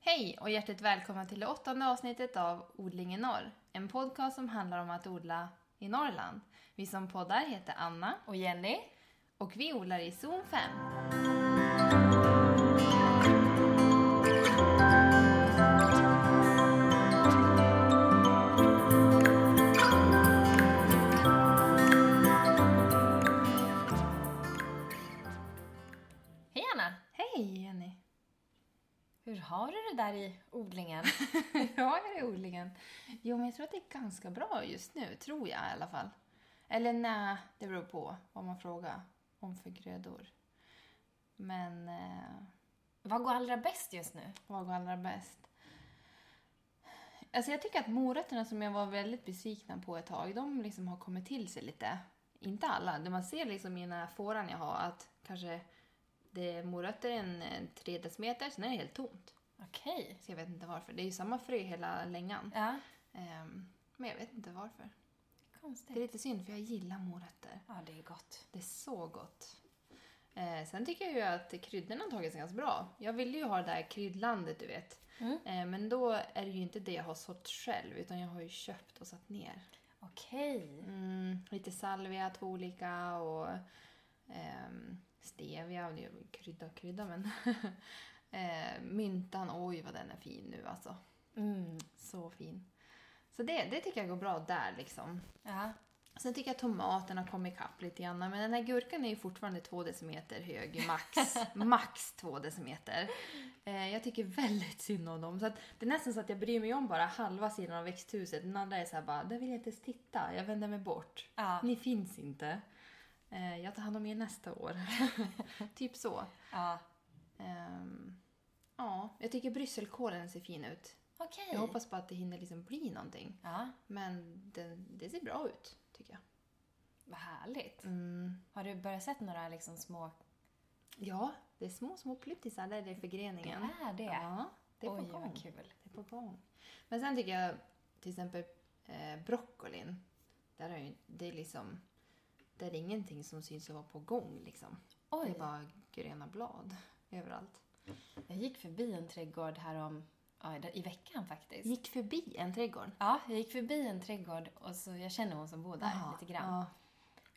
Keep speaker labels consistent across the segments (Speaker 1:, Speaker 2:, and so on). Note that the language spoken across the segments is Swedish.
Speaker 1: Hej och hjärtligt välkomna till det åttonde avsnittet av Odling i norr. En podcast som handlar om att odla i Norrland. Vi som poddar heter Anna
Speaker 2: Och Jenny?
Speaker 1: och vi odlar i zon 5.
Speaker 2: Hej Anna!
Speaker 1: Hej Jenny!
Speaker 2: Hur har du det där i odlingen?
Speaker 1: Hur har jag det i odlingen? Jo, men jag tror att det är ganska bra just nu. Tror jag i alla fall. Eller nej, det beror på vad man frågar om för grödor. Men eh,
Speaker 2: Vad går allra bäst just nu?
Speaker 1: Vad går allra bäst? Alltså jag tycker att morötterna som jag var väldigt besviken på ett tag, de liksom har kommit till sig lite. Inte alla, det man ser liksom i den här fåran jag har att kanske det är morötter en eh, tre decimeter, sen är det helt tomt.
Speaker 2: Okej.
Speaker 1: Så jag vet inte varför. Det är ju samma frö hela längan.
Speaker 2: Ja,
Speaker 1: Ehm, men jag vet inte varför. Det är
Speaker 2: konstigt.
Speaker 1: lite synd för jag gillar morötter.
Speaker 2: Ja, det är gott.
Speaker 1: Det är så gott. Eh, sen tycker jag ju att kryddorna har tagit sig ganska bra. Jag ville ju ha det där kryddlandet, du vet.
Speaker 2: Mm.
Speaker 1: Eh, men då är det ju inte det jag har sått själv, utan jag har ju köpt och satt ner.
Speaker 2: Okej.
Speaker 1: Mm, lite salvia, två olika och ehm, stevia, det är ju krydda och krydda men. eh, myntan, oj vad den är fin nu alltså.
Speaker 2: Mm.
Speaker 1: Så fin. Så det, det tycker jag går bra där liksom.
Speaker 2: Ja.
Speaker 1: Sen tycker jag tomaterna kom ikapp lite grann, men den här gurkan är ju fortfarande två decimeter hög, max. max två decimeter. Eh, jag tycker väldigt synd om dem. Så att, det är nästan så att jag bryr mig om bara halva sidan av växthuset. Den andra är så här bara, där vill jag inte ens titta, jag vänder mig bort.
Speaker 2: Ja.
Speaker 1: Ni finns inte. Eh, jag tar hand om er nästa år. typ så.
Speaker 2: ja.
Speaker 1: Ehm, ja, jag tycker brysselkålen ser fin ut.
Speaker 2: Okej.
Speaker 1: Jag hoppas på att det hinner liksom bli någonting.
Speaker 2: Ja,
Speaker 1: Men den, det ser bra ut, tycker jag.
Speaker 2: vad härligt.
Speaker 1: Mm.
Speaker 2: Har du börjat sett några liksom små...
Speaker 1: Ja, det är små, små pluttisar där i förgreningen.
Speaker 2: Är det?
Speaker 1: Ja, det är,
Speaker 2: Oj,
Speaker 1: på gång.
Speaker 2: vad kul.
Speaker 1: det är på gång. Men sen tycker jag till exempel eh, broccolin. Där är ju, det är liksom... Det är ingenting som syns att vara på gång liksom. Det
Speaker 2: Oj,
Speaker 1: är bara gröna blad överallt.
Speaker 2: jag gick förbi en trädgård härom... Ja, i veckan faktiskt.
Speaker 1: Gick förbi en trädgård.
Speaker 2: Ja, jag gick förbi en trädgård och så jag känner hon som bor där
Speaker 1: Jaha,
Speaker 2: lite grann.
Speaker 1: Ja.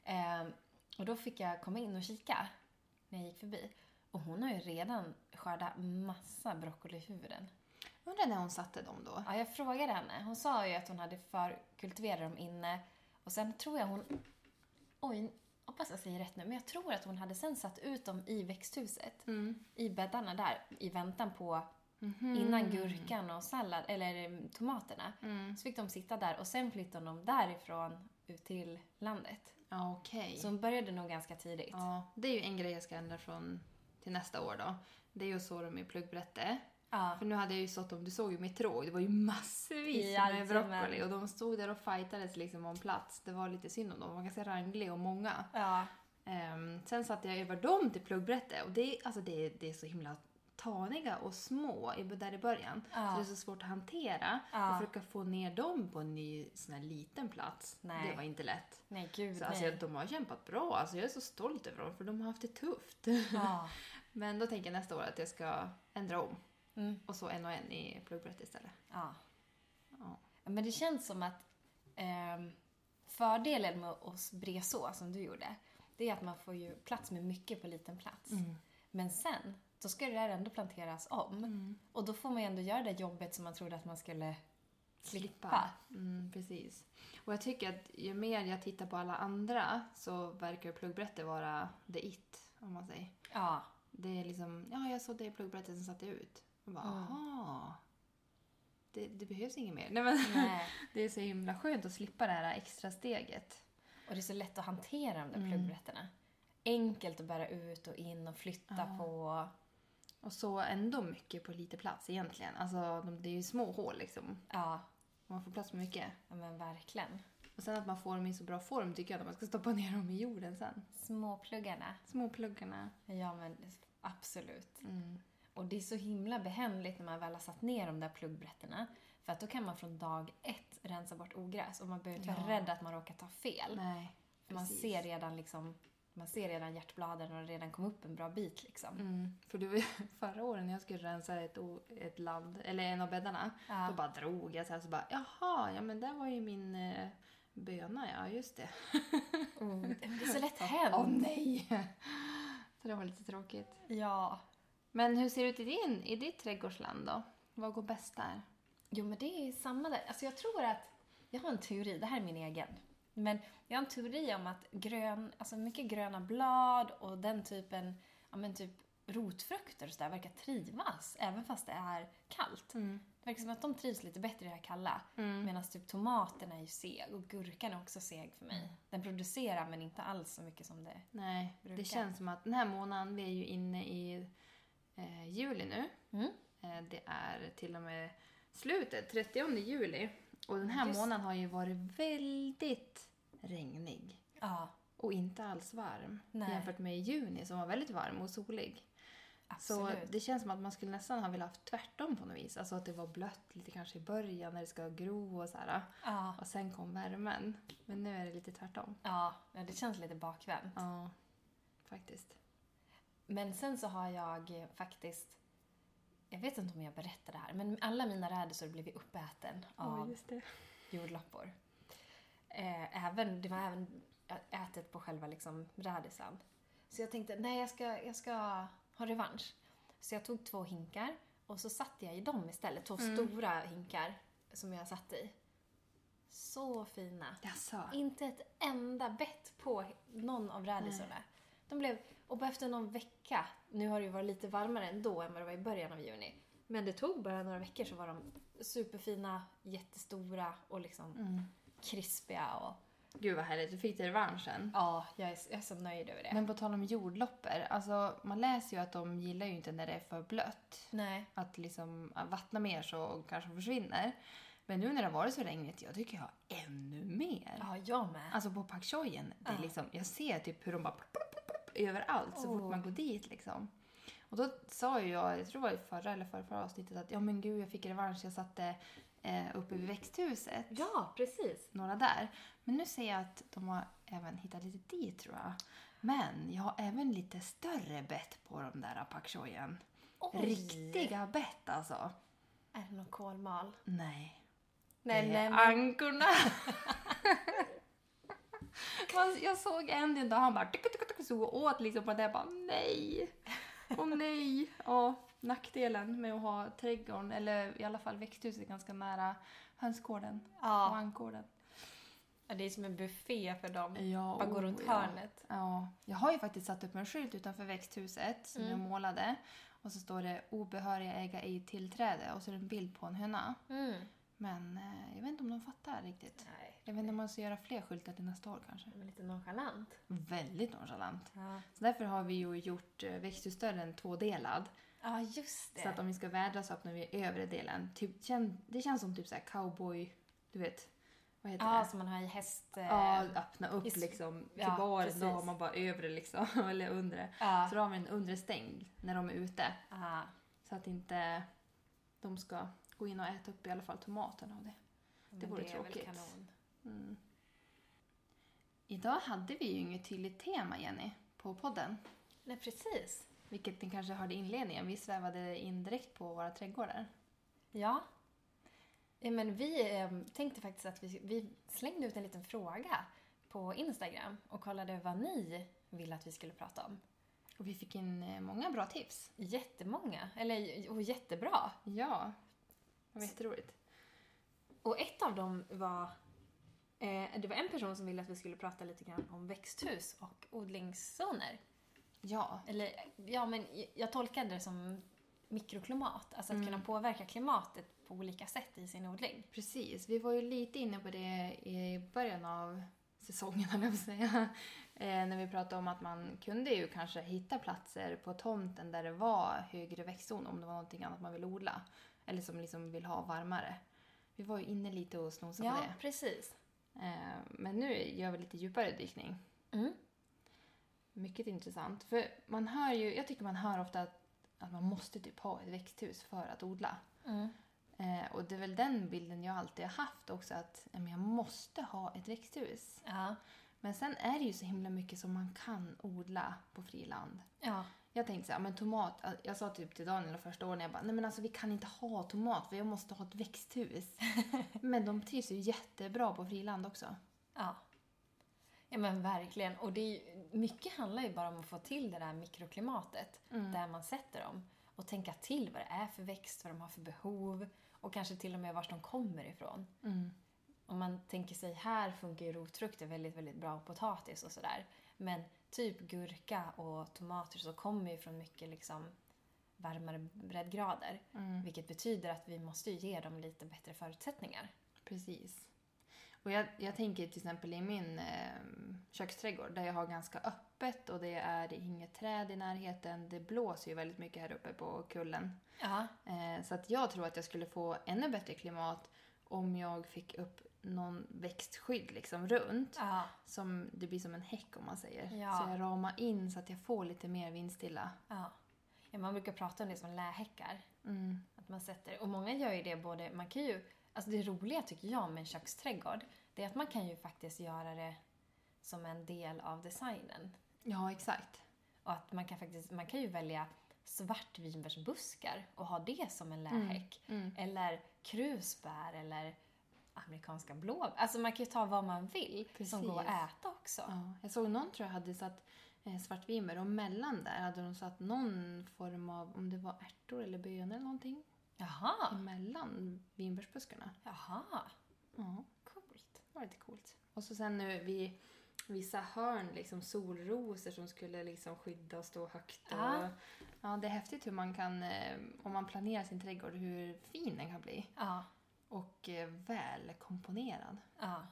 Speaker 2: Ehm, och då fick jag komma in och kika när jag gick förbi. Och hon har ju redan skördat massa broccolihuvuden.
Speaker 1: Undrar när hon satte dem då.
Speaker 2: Ja, jag frågade henne. Hon sa ju att hon hade förkultiverat dem inne. Och sen tror jag hon... Oj, hoppas jag säger rätt nu. Men jag tror att hon hade sen satt ut dem i växthuset.
Speaker 1: Mm.
Speaker 2: I bäddarna där. I väntan på...
Speaker 1: Mhm.
Speaker 2: Innan gurkan och sallad, eller eh, tomaterna.
Speaker 1: Mm.
Speaker 2: Så fick de sitta där och sen flyttade hon dem därifrån ut till landet.
Speaker 1: Ja, okej.
Speaker 2: Så hon började nog ganska tidigt.
Speaker 1: Ja, det är ju en grej jag ska ändra från till nästa år då. Det är ju att så dem i pluggbrätte.
Speaker 2: Ja.
Speaker 1: För nu hade jag ju sått dem, du såg ju mitt tråg, det var ju massvis med
Speaker 2: Jajamän.
Speaker 1: broccoli och de stod där och fightades liksom om plats. Det var lite synd om dem, de var ganska rangliga och många.
Speaker 2: Ja.
Speaker 1: Ehm, sen satte jag över dem till pluggbrätte och det, är- alltså det, är- det är så himla taniga och små i- där i början.
Speaker 2: Ja.
Speaker 1: Så det är så svårt att hantera
Speaker 2: Ja.
Speaker 1: och försöka få ner dem på en ny sån här liten plats.
Speaker 2: Nej.
Speaker 1: Det var inte lätt.
Speaker 2: Nej, gud
Speaker 1: Så
Speaker 2: nej.
Speaker 1: alltså, de har kämpat bra, alltså, jag är så stolt över dem för de har haft det tufft.
Speaker 2: Ja.
Speaker 1: Men då tänker jag nästa år att jag ska ändra om
Speaker 2: Mm.
Speaker 1: och så en och en i pluggbrätte istället.
Speaker 2: ja.
Speaker 1: Ja.
Speaker 2: Men det känns som att ehm, fördelen med att bre så, som du gjorde, det är att man får ju plats med mycket på liten plats.
Speaker 1: Mm.
Speaker 2: Men sen, då ska det där ändå planteras om.
Speaker 1: Mm.
Speaker 2: Och då får man ju ändå göra det jobbet som man trodde att man skulle slippa.
Speaker 1: Mm, precis. Och jag tycker att ju mer jag tittar på alla andra så verkar ju pluggbrätte vara the it, om man säger.
Speaker 2: Ja.
Speaker 1: Det är liksom, ja jag såg det i pluggbrätte, sen satte jag ut. Och bara,
Speaker 2: Mm.
Speaker 1: aha. Det, det behövs inget mer. Nej, men,
Speaker 2: Nej.
Speaker 1: det är så himla skönt att slippa det här extra steget.
Speaker 2: Och det är så lätt att hantera de där
Speaker 1: Mm.
Speaker 2: pluggrätterna. Enkelt att bära ut och in och flytta
Speaker 1: Ja.
Speaker 2: på.
Speaker 1: Och så ändå mycket på lite plats egentligen. Alltså, de, det är ju små hål liksom.
Speaker 2: Ja,
Speaker 1: Man får plats med mycket.
Speaker 2: ja, men verkligen.
Speaker 1: Och sen att man får dem i så bra form tycker jag att man ska stoppa ner dem i jorden sen.
Speaker 2: Småpluggarna.
Speaker 1: Småpluggarna.
Speaker 2: Ja, men absolut.
Speaker 1: Mm.
Speaker 2: Och det är så himla behändigt när man väl har satt ner de där pluggbrätterna. För att då kan man från dag ett rensa bort ogräs och man behöver inte vara
Speaker 1: Ja.
Speaker 2: rädd att man råkar ta fel.
Speaker 1: Nej.
Speaker 2: För man
Speaker 1: precis.
Speaker 2: ser redan liksom Man ser redan hjärtbladen och det redan kom upp en bra bit liksom.
Speaker 1: Mm. För du, vet, förra året när jag skulle rensa ett, o- ett land, eller en av bäddarna,
Speaker 2: Ja.
Speaker 1: då bara drog jag så här så bara jaha, ja men där var ju min eh, böna ja, just det. "Oh."
Speaker 2: Det är så lätt
Speaker 1: Åh
Speaker 2: hänt.
Speaker 1: nej! Så det var lite tråkigt.
Speaker 2: Ja.
Speaker 1: Men hur ser det ut i, din, i ditt trädgårdsland då? Vad går bäst där?
Speaker 2: Jo, men det är samma där. Alltså jag tror att, jag har en teori, det här är min egen. Men jag har en teori om att grön, alltså mycket gröna blad och den typen, ja men typ rotfrukter och sådär verkar trivas även fast det är kallt.
Speaker 1: Mm.
Speaker 2: Det verkar som att de trivs lite bättre i det här kalla. Medan typ tomaterna är ju seg och gurkan är också seg för
Speaker 1: Mm.
Speaker 2: mig. Den producerar men inte alls så mycket som det.
Speaker 1: Nej,
Speaker 2: Brukar.
Speaker 1: det känns som att den här månaden, vi är ju inne i eh, juli nu.
Speaker 2: Mm.
Speaker 1: Eh, det är till och med slutet, 30 juli. Och den här
Speaker 2: Just-
Speaker 1: månaden har ju varit väldigt regnig.
Speaker 2: Ja,
Speaker 1: Och inte alls varm.
Speaker 2: Nej.
Speaker 1: Jämfört med i juni som var väldigt varm och solig.
Speaker 2: absolut.
Speaker 1: Så det känns som att man skulle nästan ha velat haft tvärtom på något vis. Alltså att det var blött lite kanske i början när det ska gro och så här.
Speaker 2: Ja,
Speaker 1: Och sen kom värmen. Men nu är det lite tvärtom.
Speaker 2: ja, ja, det känns lite bakvänt.
Speaker 1: Ja, faktiskt.
Speaker 2: Men sen så har jag eh, faktiskt, jag vet inte om jag berättar det här, men alla mina rädisor blev ju uppäten
Speaker 1: Ja,
Speaker 2: av
Speaker 1: just det.
Speaker 2: jordloppor. Eh, även, det var även ä- ätet på själva liksom rädisan. Så jag tänkte, nej jag ska, jag ska ha revansch. Så jag tog två hinkar och så satte jag i dem istället. Två stora hinkar som jag satt i. Så fina.
Speaker 1: Jaså?
Speaker 2: Inte ett enda bett på någon av rädisorna. De blev, och bara efter någon vecka, nu har det ju varit lite varmare ändå än vad det var i början av juni. Men det tog bara några veckor så var de superfina, jättestora och liksom krispiga. Och,
Speaker 1: Gud vad härligt, du fick dig revanschen.
Speaker 2: ja, jag är, jag är så nöjd över det.
Speaker 1: Men på tal om jordloppor, alltså man läser ju att de gillar ju inte när det är för blött.
Speaker 2: Nej.
Speaker 1: Att liksom att vattna mer så kanske de försvinner. Men nu när det har varit så regnigt, jag tycker jag har ännu mer.
Speaker 2: Ja, jag med.
Speaker 1: Alltså på pak choien, det är liksom, jag ser typ hur de bara plopp, plopp, plopp, plopp, överallt så
Speaker 2: Oh.
Speaker 1: fort man går dit liksom. Och då sa ju jag, jag tror det var i förra eller förra, förra avsnittet att ja men gud jag fick revansch, jag satte eh, uppe vid växthuset.
Speaker 2: Ja, precis.
Speaker 1: Några där. Men nu ser jag att de har även hittat lite dit tror jag. Men jag har även lite större bett på de där pak choien.
Speaker 2: Oj.
Speaker 1: Riktiga bett alltså.
Speaker 2: Är det någon kolmal?
Speaker 1: Nej. Det
Speaker 2: Nej,
Speaker 1: är
Speaker 2: nej, men,
Speaker 1: ankorna. Man- jag såg en en dag, han bara tuk, tuk, tuk, så åt liksom på det. Jag bara nej. Åh nej. Ja, nackdelen med att ha trädgården, eller i alla fall växthuset ganska nära hönsgården och
Speaker 2: ja.
Speaker 1: ankgården.
Speaker 2: Ja, det är som en buffé för dem.
Speaker 1: Ja,
Speaker 2: Bara gå
Speaker 1: oh,
Speaker 2: runt
Speaker 1: ja.
Speaker 2: hörnet.
Speaker 1: Ja, jag har ju faktiskt satt upp en skylt utanför växthuset som
Speaker 2: Mm.
Speaker 1: jag målade. Och så står det obehöriga äga ej tillträde och så är det en bild på en höna.
Speaker 2: Mm.
Speaker 1: Men eh, jag vet inte om de fattar riktigt.
Speaker 2: Nej,
Speaker 1: Jag vet inte om man ska göra fler skyltar till nästa år kanske.
Speaker 2: de är lite nonchalant.
Speaker 1: Väldigt nonchalant.
Speaker 2: Ja,
Speaker 1: Så därför har vi ju gjort eh, växthusdörren tvådelad.
Speaker 2: ja just det.
Speaker 1: Så att om vi ska vädra så öppnar vi övre delen. Typ, känn, det känns som typ så här cowboy, du vet, vad heter
Speaker 2: Ja,
Speaker 1: det?
Speaker 2: som man har i häst... eh,
Speaker 1: Ja, öppna upp
Speaker 2: i s-
Speaker 1: liksom till
Speaker 2: ja,
Speaker 1: baren. Då
Speaker 2: precis.
Speaker 1: har man bara övre liksom, eller undre.
Speaker 2: ja.
Speaker 1: Så då har vi en undre stängd när de är ute.
Speaker 2: Ja.
Speaker 1: Så att inte de ska gå in och äta upp i alla fall tomaterna och det.
Speaker 2: Men
Speaker 1: vore
Speaker 2: är väl
Speaker 1: tråkigt.
Speaker 2: kanon.
Speaker 1: Mm. Idag hade vi ju inget tydligt tema, Jenny, på podden.
Speaker 2: Nej, precis.
Speaker 1: Vilket ni kanske hörde i inledningen, vi svävade in direkt på våra trädgårdar.
Speaker 2: Ja. Ja, Men vi eh, tänkte faktiskt att vi, vi slängde ut en liten fråga på Instagram och kollade vad ni ville att vi skulle prata om.
Speaker 1: Och vi fick in eh, många bra tips.
Speaker 2: Jättemånga, eller och jättebra.
Speaker 1: Ja, det var jätteroligt.
Speaker 2: Och ett av dem var... Eh, det var en person som ville att vi skulle prata lite grann om växthus och odlingszoner.
Speaker 1: Ja,
Speaker 2: Eller, ja men jag tolkade det som mikroklimat. Alltså att
Speaker 1: Mm.
Speaker 2: kunna påverka klimatet på olika sätt i sin odling.
Speaker 1: precis. Vi var ju lite inne på det i början av säsongen, höll jag på att säga. Eh, när vi pratade om att man kunde ju kanske hitta platser på tomten där det var högre växtzon om det var någonting annat man vill odla. Eller som liksom vill ha varmare. Vi var ju inne lite och snosade på
Speaker 2: Ja,
Speaker 1: det.
Speaker 2: precis.
Speaker 1: Eh, men nu gör vi lite djupare dykning.
Speaker 2: Mm.
Speaker 1: Mycket intressant. För man hör ju, jag tycker man hör ofta att, att man måste typ ha ett växthus för att odla.
Speaker 2: Mm.
Speaker 1: Eh, och det är väl den bilden jag alltid har haft också att ja, men jag måste ha ett växthus.
Speaker 2: Ja.
Speaker 1: Men sen är det ju så himla mycket som man kan odla på friland.
Speaker 2: Ja.
Speaker 1: Jag tänkte så här, men tomat, jag sa typ till Daniel de första åren, jag bara, nej men alltså vi kan inte ha tomat för jag måste ha ett växthus. men de trivs ju jättebra på friland också.
Speaker 2: Ja. Ja men verkligen. Och det är ju, mycket handlar ju bara om att få till det där mikroklimatet
Speaker 1: Mm.
Speaker 2: där man sätter dem. Och tänka till vad det är för växt, vad de har för behov och kanske till och med vart de kommer ifrån.
Speaker 1: Mm.
Speaker 2: Om man tänker sig här funkar ju rotfrukter väldigt, väldigt bra och potatis och sådär. Men typ gurka och tomater så kommer ju från mycket liksom varmare breddgrader.
Speaker 1: Mm.
Speaker 2: Vilket betyder att vi måste ju ge dem lite bättre förutsättningar.
Speaker 1: Precis. Och jag, jag tänker till exempel i min eh, köksträdgård där jag har ganska öppet och det är inget träd i närheten. Det blåser ju väldigt mycket här uppe på kullen.
Speaker 2: Ja.
Speaker 1: Eh, så att jag tror att jag skulle få ännu bättre klimat om jag fick upp någon växtskydd liksom runt.
Speaker 2: Ja.
Speaker 1: Som, det blir som en häck om man säger.
Speaker 2: Ja.
Speaker 1: Så jag ramar in så att jag får lite mer vindstilla.
Speaker 2: Ja. ja, man brukar prata om det som lähäckar.
Speaker 1: Mm.
Speaker 2: Att man sätter, och många gör ju det både, man kan ju, alltså det roliga tycker jag med en köksträdgård, det är att man kan ju faktiskt göra det som en del av designen.
Speaker 1: Ja, exakt.
Speaker 2: Och att man kan faktiskt, man kan ju välja svartvinbärsbuskar och ha det som
Speaker 1: Mm.
Speaker 2: en lähäck. Eller krusbär eller amerikanska blåbär. Alltså man kan ju ta vad man vill som går att
Speaker 1: Precis.
Speaker 2: äta också.
Speaker 1: Ja. Jag såg någon tror jag hade satt eh, svartvinbär och mellan där hade de satt någon form av, om det var ärtor eller bönor eller någonting,
Speaker 2: Jaha,
Speaker 1: emellan vinbärsbuskarna.
Speaker 2: jaha,
Speaker 1: Ja,
Speaker 2: coolt.
Speaker 1: det var lite coolt. Och så sen nu vid vissa hörn liksom solrosor som skulle liksom skydda och stå högt. Och,
Speaker 2: Ja.
Speaker 1: ja, det är häftigt hur man kan, eh, om man planerar sin trädgård, hur fin den kan bli.
Speaker 2: Ja.
Speaker 1: Och eh, välkomponerad.
Speaker 2: Ja.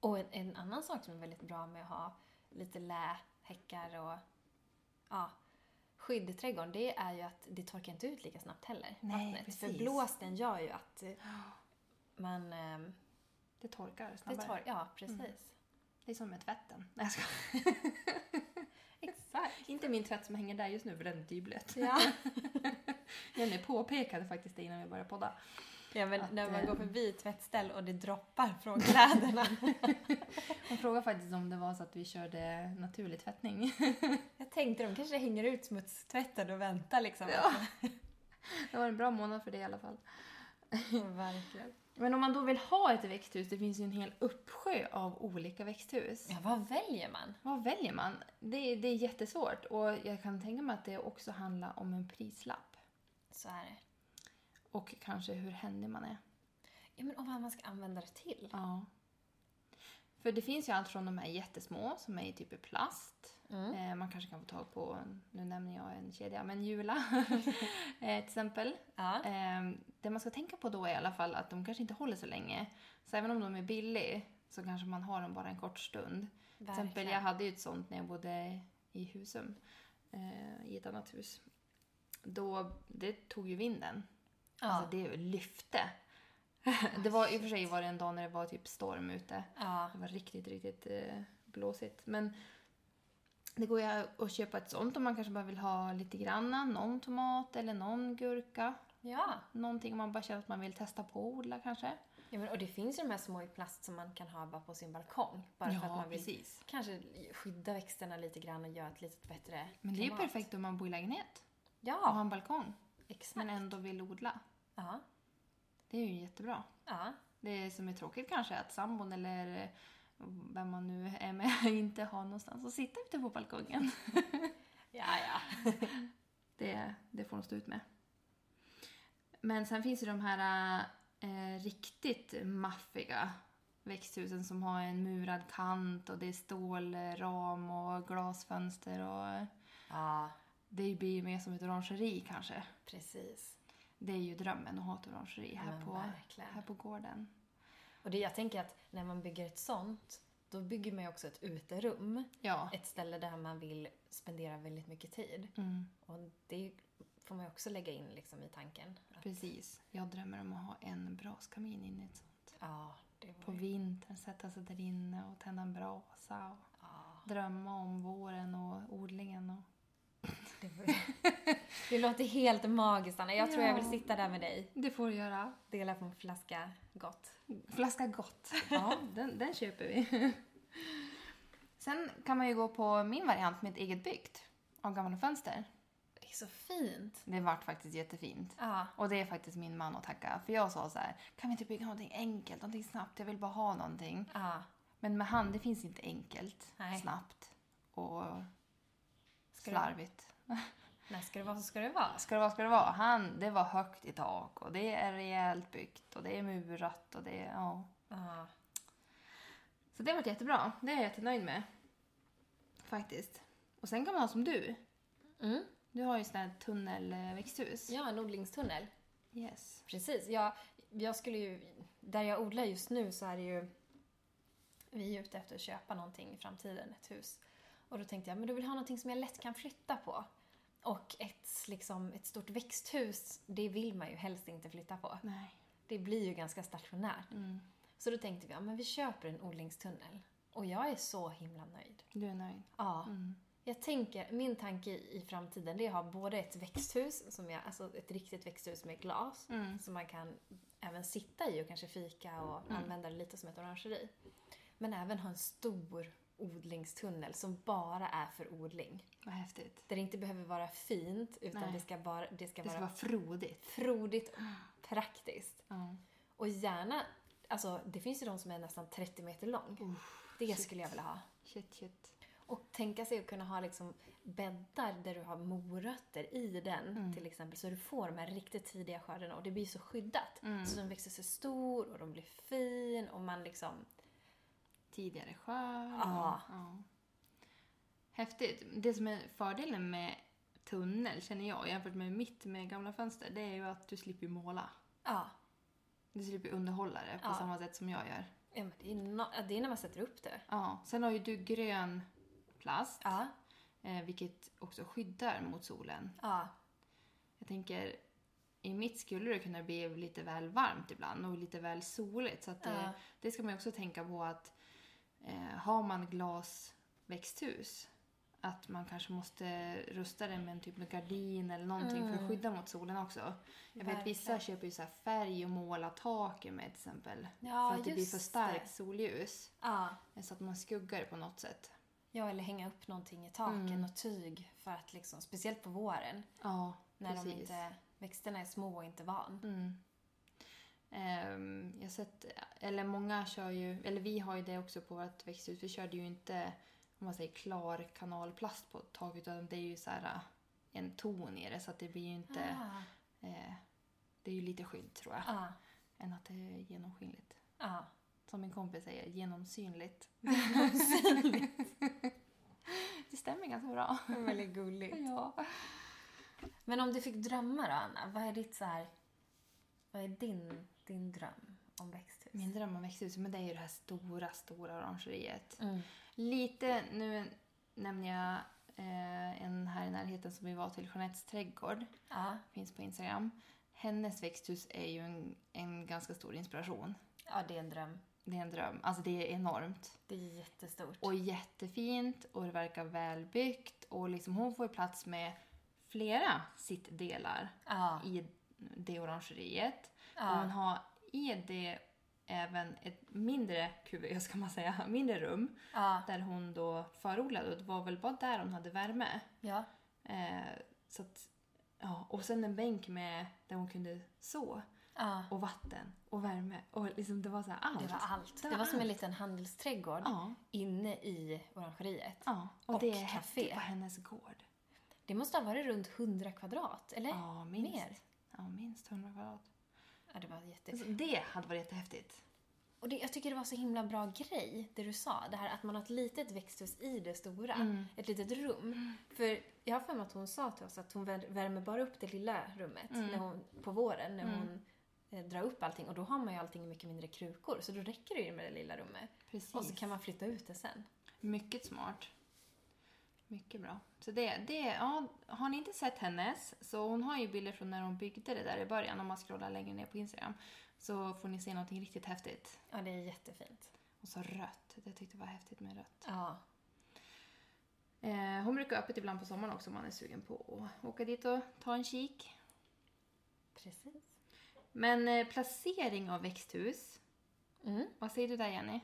Speaker 2: Och en, en annan sak som är väldigt bra med att ha lite lä, häckar och ja, skydd i trädgården, det är ju att det torkar inte ut lika snabbt heller.
Speaker 1: Nej,
Speaker 2: vattnet. För
Speaker 1: precis.
Speaker 2: blåsten gör ju att eh, man... ehm,
Speaker 1: Det torkar
Speaker 2: Det
Speaker 1: snabbare. Det,
Speaker 2: tar, ja, precis.
Speaker 1: Mm. är som med tvätten. Nej, jag skojar.
Speaker 2: Exakt.
Speaker 1: Inte min tvätt som hänger där just nu för den är dyblöt.
Speaker 2: Ja.
Speaker 1: Jenny påpekade faktiskt det innan vi började podda.
Speaker 2: ja, men
Speaker 1: Att,
Speaker 2: när man
Speaker 1: eh,
Speaker 2: går förbi ett tvättställ och det droppar från kläderna.
Speaker 1: Hon frågade faktiskt om det var så att vi körde naturlig tvättning.
Speaker 2: jag tänkte de kanske hänger ut smutstvätten och väntar liksom.
Speaker 1: Det var en bra månad för det i alla fall.
Speaker 2: Verkligen.
Speaker 1: Men om man då vill ha ett växthus, det finns ju en hel uppsjö av olika växthus.
Speaker 2: Ja, vad väljer man?
Speaker 1: Vad väljer man? Det, är- det är jättesvårt och jag kan tänka mig att det också handlar om en prislapp.
Speaker 2: Så är det.
Speaker 1: Och kanske hur händig man är.
Speaker 2: Ja, men och vad man ska använda det till.
Speaker 1: Ja. För det finns ju allt från de här jättesmå som är i typ i plast.
Speaker 2: Mm.
Speaker 1: Eh, man kanske kan få tag på, nu nämner jag en kedja, men Jula eh, till exempel.
Speaker 2: Ja.
Speaker 1: Eh, det man ska tänka på då är i alla fall att de kanske inte håller så länge. Så även om de är billiga så kanske man har dem bara en kort stund. Till exempel
Speaker 2: Verkligen.
Speaker 1: jag hade ju ett sånt när jag bodde i Husum, eh, i ett annat hus. Då, det tog ju vinden.
Speaker 2: Ja.
Speaker 1: Alltså det lyfte. Det var i och för sig var det en dag när det var typ storm ute.
Speaker 2: Ja,
Speaker 1: Det var riktigt, riktigt eh, blåsigt. Men det går ju att köpa ett sånt om man kanske bara vill ha lite granna, någon tomat eller någon gurka.
Speaker 2: ja.
Speaker 1: Någonting man bara känner att man vill testa på att odla kanske.
Speaker 2: ja men, och det finns ju de här små i plast som man kan ha bara på sin balkong. Bara för att man vill
Speaker 1: precis.
Speaker 2: kanske skydda växterna lite grann och göra ett lite bättre
Speaker 1: Men det är ju
Speaker 2: klimat.
Speaker 1: perfekt om man bor i lägenhet och har
Speaker 2: Ja,
Speaker 1: en balkong
Speaker 2: exakt.
Speaker 1: men ändå vill odla.
Speaker 2: Ja,
Speaker 1: Det är ju jättebra.
Speaker 2: ja,
Speaker 1: Det som är tråkigt kanske är att sambon eller vem man nu är med inte har någonstans att sitta ute på balkongen.
Speaker 2: ja. ja.
Speaker 1: Det, det får de stå ut med. Men sen finns ju de här eh, riktigt maffiga växthusen som har en murad kant och det är stålram och glasfönster och
Speaker 2: ja
Speaker 1: det blir ju mer som ett orangeri kanske.
Speaker 2: precis.
Speaker 1: Det är ju drömmen att ha ett orangeri här,
Speaker 2: Men
Speaker 1: på,
Speaker 2: verkligen.
Speaker 1: här på gården.
Speaker 2: Och det, jag tänker att när man bygger ett sånt, då bygger man ju också ett uterum.
Speaker 1: Ja.
Speaker 2: Ett ställe där man vill spendera väldigt mycket tid.
Speaker 1: Mm,
Speaker 2: Och det får man ju också lägga in liksom i tanken. Att,
Speaker 1: precis. Jag drömmer om att ha en braskamin inne i ett sånt.
Speaker 2: ja, det var
Speaker 1: På
Speaker 2: ju...
Speaker 1: vintern sätta sig där inne och tända en brasa och
Speaker 2: Ja,
Speaker 1: drömma om våren och odlingen. Och...
Speaker 2: det, var ju... det låter helt magiskt Anna. Jag tror jag vill sitta där med dig.
Speaker 1: Det får du göra.
Speaker 2: Dela på en flaska gott.
Speaker 1: Flaska gott. Ja, den, den köper vi. Sen kan man ju gå på min variant, mitt eget byggt, av gamla fönster.
Speaker 2: Det är så fint.
Speaker 1: Det vart faktiskt jättefint.
Speaker 2: Ja.
Speaker 1: Och det är faktiskt min man att tacka. För jag sa så här, kan vi inte bygga någonting enkelt, någonting snabbt, jag vill bara ha någonting.
Speaker 2: ja.
Speaker 1: Men med han, det finns inte enkelt,
Speaker 2: Nej.
Speaker 1: snabbt och
Speaker 2: Ska det-
Speaker 1: slarvigt.
Speaker 2: Nej, ska det vara så ska det vara.
Speaker 1: Ska det vara, ska det vara. Han, det var högt i tak och det är rejält byggt och det är murat och det är, ja.
Speaker 2: Ja.
Speaker 1: Så det har varit jättebra. Det är jag jättenöjd med. Faktiskt. Och sen kan man ha som du.
Speaker 2: Mm.
Speaker 1: Du har ju sån här tunnelväxthus.
Speaker 2: ja, en odlingstunnel.
Speaker 1: Yes.
Speaker 2: Precis. Jag, jag skulle ju, där jag odlar just nu så är det ju... Vi är ute efter att köpa någonting i framtiden, ett hus. Och då tänkte jag, men du vill ha någonting som jag lätt kan flytta på. Och ett, liksom, ett stort växthus, det vill man ju helst inte flytta på.
Speaker 1: Nej.
Speaker 2: Det blir ju ganska stationärt.
Speaker 1: Mm.
Speaker 2: Så då tänkte vi, ja men vi köper en odlingstunnel. Och jag är så himla nöjd.
Speaker 1: Du är nöjd.
Speaker 2: Ja.
Speaker 1: Mm.
Speaker 2: Jag tänker, min tanke i i framtiden det är att ha både ett växthus, som jag, alltså ett riktigt växthus med glas,
Speaker 1: Mm.
Speaker 2: som man kan även sitta i och kanske fika och använda det lite som ett orangeri. Men även ha en stor odlingstunnel som bara är för odling.
Speaker 1: Vad häftigt.
Speaker 2: Där det inte behöver vara fint, utan
Speaker 1: Nej.
Speaker 2: det ska, bara, det ska
Speaker 1: Det ska
Speaker 2: vara
Speaker 1: vara frodigt.
Speaker 2: frodigt och praktiskt.
Speaker 1: Ja.
Speaker 2: Och gärna, alltså det finns ju de som är nästan 30 meter lång. det skulle jag vilja ha.
Speaker 1: Shit, shit.
Speaker 2: Och tänka sig att kunna ha liksom bäddar där du har morötter i den
Speaker 1: Mm.
Speaker 2: till exempel. Så du får de här riktigt tidiga skördarna och det blir så skyddat.
Speaker 1: Mm.
Speaker 2: Så Alltså, de växer sig stor och de blir fin och man liksom...
Speaker 1: Tidigare skörd.
Speaker 2: Ja.
Speaker 1: ja. Häftigt. Det som är fördelen med tunnel, känner jag, jämfört med mitt med gamla fönster, det är ju att du slipper måla.
Speaker 2: Ja.
Speaker 1: Du slipper underhålla det på
Speaker 2: Ja.
Speaker 1: samma sätt som jag gör.
Speaker 2: ja, men det, är no, ja, det är när man sätter upp det.
Speaker 1: Ja. Sen har ju du grön plast,
Speaker 2: Ja.
Speaker 1: eh, vilket också skyddar mot solen.
Speaker 2: Ja.
Speaker 1: Jag tänker, i mitt skulle det kunna bli lite väl varmt ibland och lite väl soligt. Så att det,
Speaker 2: Ja.
Speaker 1: det ska man ju också tänka på att eh, har man glasväxthus att man kanske måste rusta det med en typ av gardin eller någonting för att skydda mot solen också. Jag vet vissa
Speaker 2: Mm. Verkligen.
Speaker 1: köper ju så här färg och målar taken med till exempel.
Speaker 2: Ja,
Speaker 1: för att det blir
Speaker 2: just
Speaker 1: för starkt
Speaker 2: det.
Speaker 1: solljus. eh,
Speaker 2: ja.
Speaker 1: Så att man skuggar det på något sätt.
Speaker 2: Ja, eller hänga upp någonting i taken
Speaker 1: Mm.
Speaker 2: och tyg för att liksom, speciellt på våren
Speaker 1: Ja,
Speaker 2: när
Speaker 1: precis.
Speaker 2: de inte, växterna är små och inte van.
Speaker 1: Mm. Ehm, jag har sett, eller många kör ju, eller vi har ju det också på vårt växthus. Vi körde ju inte, om man säger klar kanalplast på taket utan det är ju så här äh, en ton i det så att det blir ju inte,
Speaker 2: Ah.
Speaker 1: eh, det är ju lite skydd tror jag,
Speaker 2: Ja.
Speaker 1: än att det är genomskinligt.
Speaker 2: Ja.
Speaker 1: Som min kompis säger, genomsynligt. det stämmer ganska bra.
Speaker 2: Väldigt gulligt.
Speaker 1: Ja.
Speaker 2: Men om du fick drömma då, Anna, vad är ditt så här, vad är din, din dröm om växthus?
Speaker 1: Min dröm om växthus, men det är ju det här stora, stora orangeriet.
Speaker 2: Mm.
Speaker 1: Lite, nu nämner jag eh, en här i närheten som vi var till, Jeanettes trädgård.
Speaker 2: Ja.
Speaker 1: Finns på Instagram. Hennes växthus är ju en, en ganska stor inspiration.
Speaker 2: ja, det är en dröm.
Speaker 1: Det är en dröm. Alltså det är enormt.
Speaker 2: Det är jättestort.
Speaker 1: Och jättefint och det verkar välbyggt. Och liksom hon får ju plats med flera sittdelar
Speaker 2: ja.
Speaker 1: i det orangeriet. Och hon
Speaker 2: Ja.
Speaker 1: har i det även ett mindre kuvös kan man säga, mindre rum.
Speaker 2: Ja.
Speaker 1: där hon då förodlade och det var väl bara där hon hade värme.
Speaker 2: ja.
Speaker 1: Eh, så att, ja, och sen en bänk med där hon kunde så
Speaker 2: ja.
Speaker 1: och vatten och värme och liksom det var så här allt.
Speaker 2: Det var allt. Det var som en liten handelsträdgård
Speaker 1: Ja,
Speaker 2: inne i orangeriet.
Speaker 1: ja. Och,
Speaker 2: Och
Speaker 1: det är
Speaker 2: café.
Speaker 1: häftigt på hennes gård.
Speaker 2: Det måste ha varit runt 100 kvadrat, eller?
Speaker 1: Ja, minst.
Speaker 2: Mer.
Speaker 1: Ja, minst 100 kvadrat.
Speaker 2: Ja, det var jätte...
Speaker 1: Alltså, det hade varit jättehäftigt.
Speaker 2: Och det, jag tycker det var så himla bra grej, det du sa. Det här att man har ett litet växthus i det stora.
Speaker 1: Mm.
Speaker 2: Ett litet rum. För jag har för mig att hon sa till oss att hon vär- värmer bara upp det lilla rummet
Speaker 1: Mm.
Speaker 2: när hon, på våren när hon eh, drar upp allting. Och då har man ju allting i mycket mindre krukor. Så då räcker det ju med det lilla rummet.
Speaker 1: Precis.
Speaker 2: Och så kan man flytta ut det sen.
Speaker 1: Mycket smart. Mycket bra. Så det, det, ja, har ni inte sett hennes, så hon har ju bilder från när hon byggde det där i början, om man scrollar längre ner på Instagram, så får ni se någonting riktigt häftigt.
Speaker 2: Ja, det är jättefint.
Speaker 1: Och så rött, det tyckte jag var häftigt med rött.
Speaker 2: Ja.
Speaker 1: Eh, hon brukar ha öppet ibland på sommaren också om man är sugen på att åka dit och ta en kik.
Speaker 2: Precis.
Speaker 1: Men eh, placering av växthus,
Speaker 2: Mm.
Speaker 1: vad säger du där Jenny?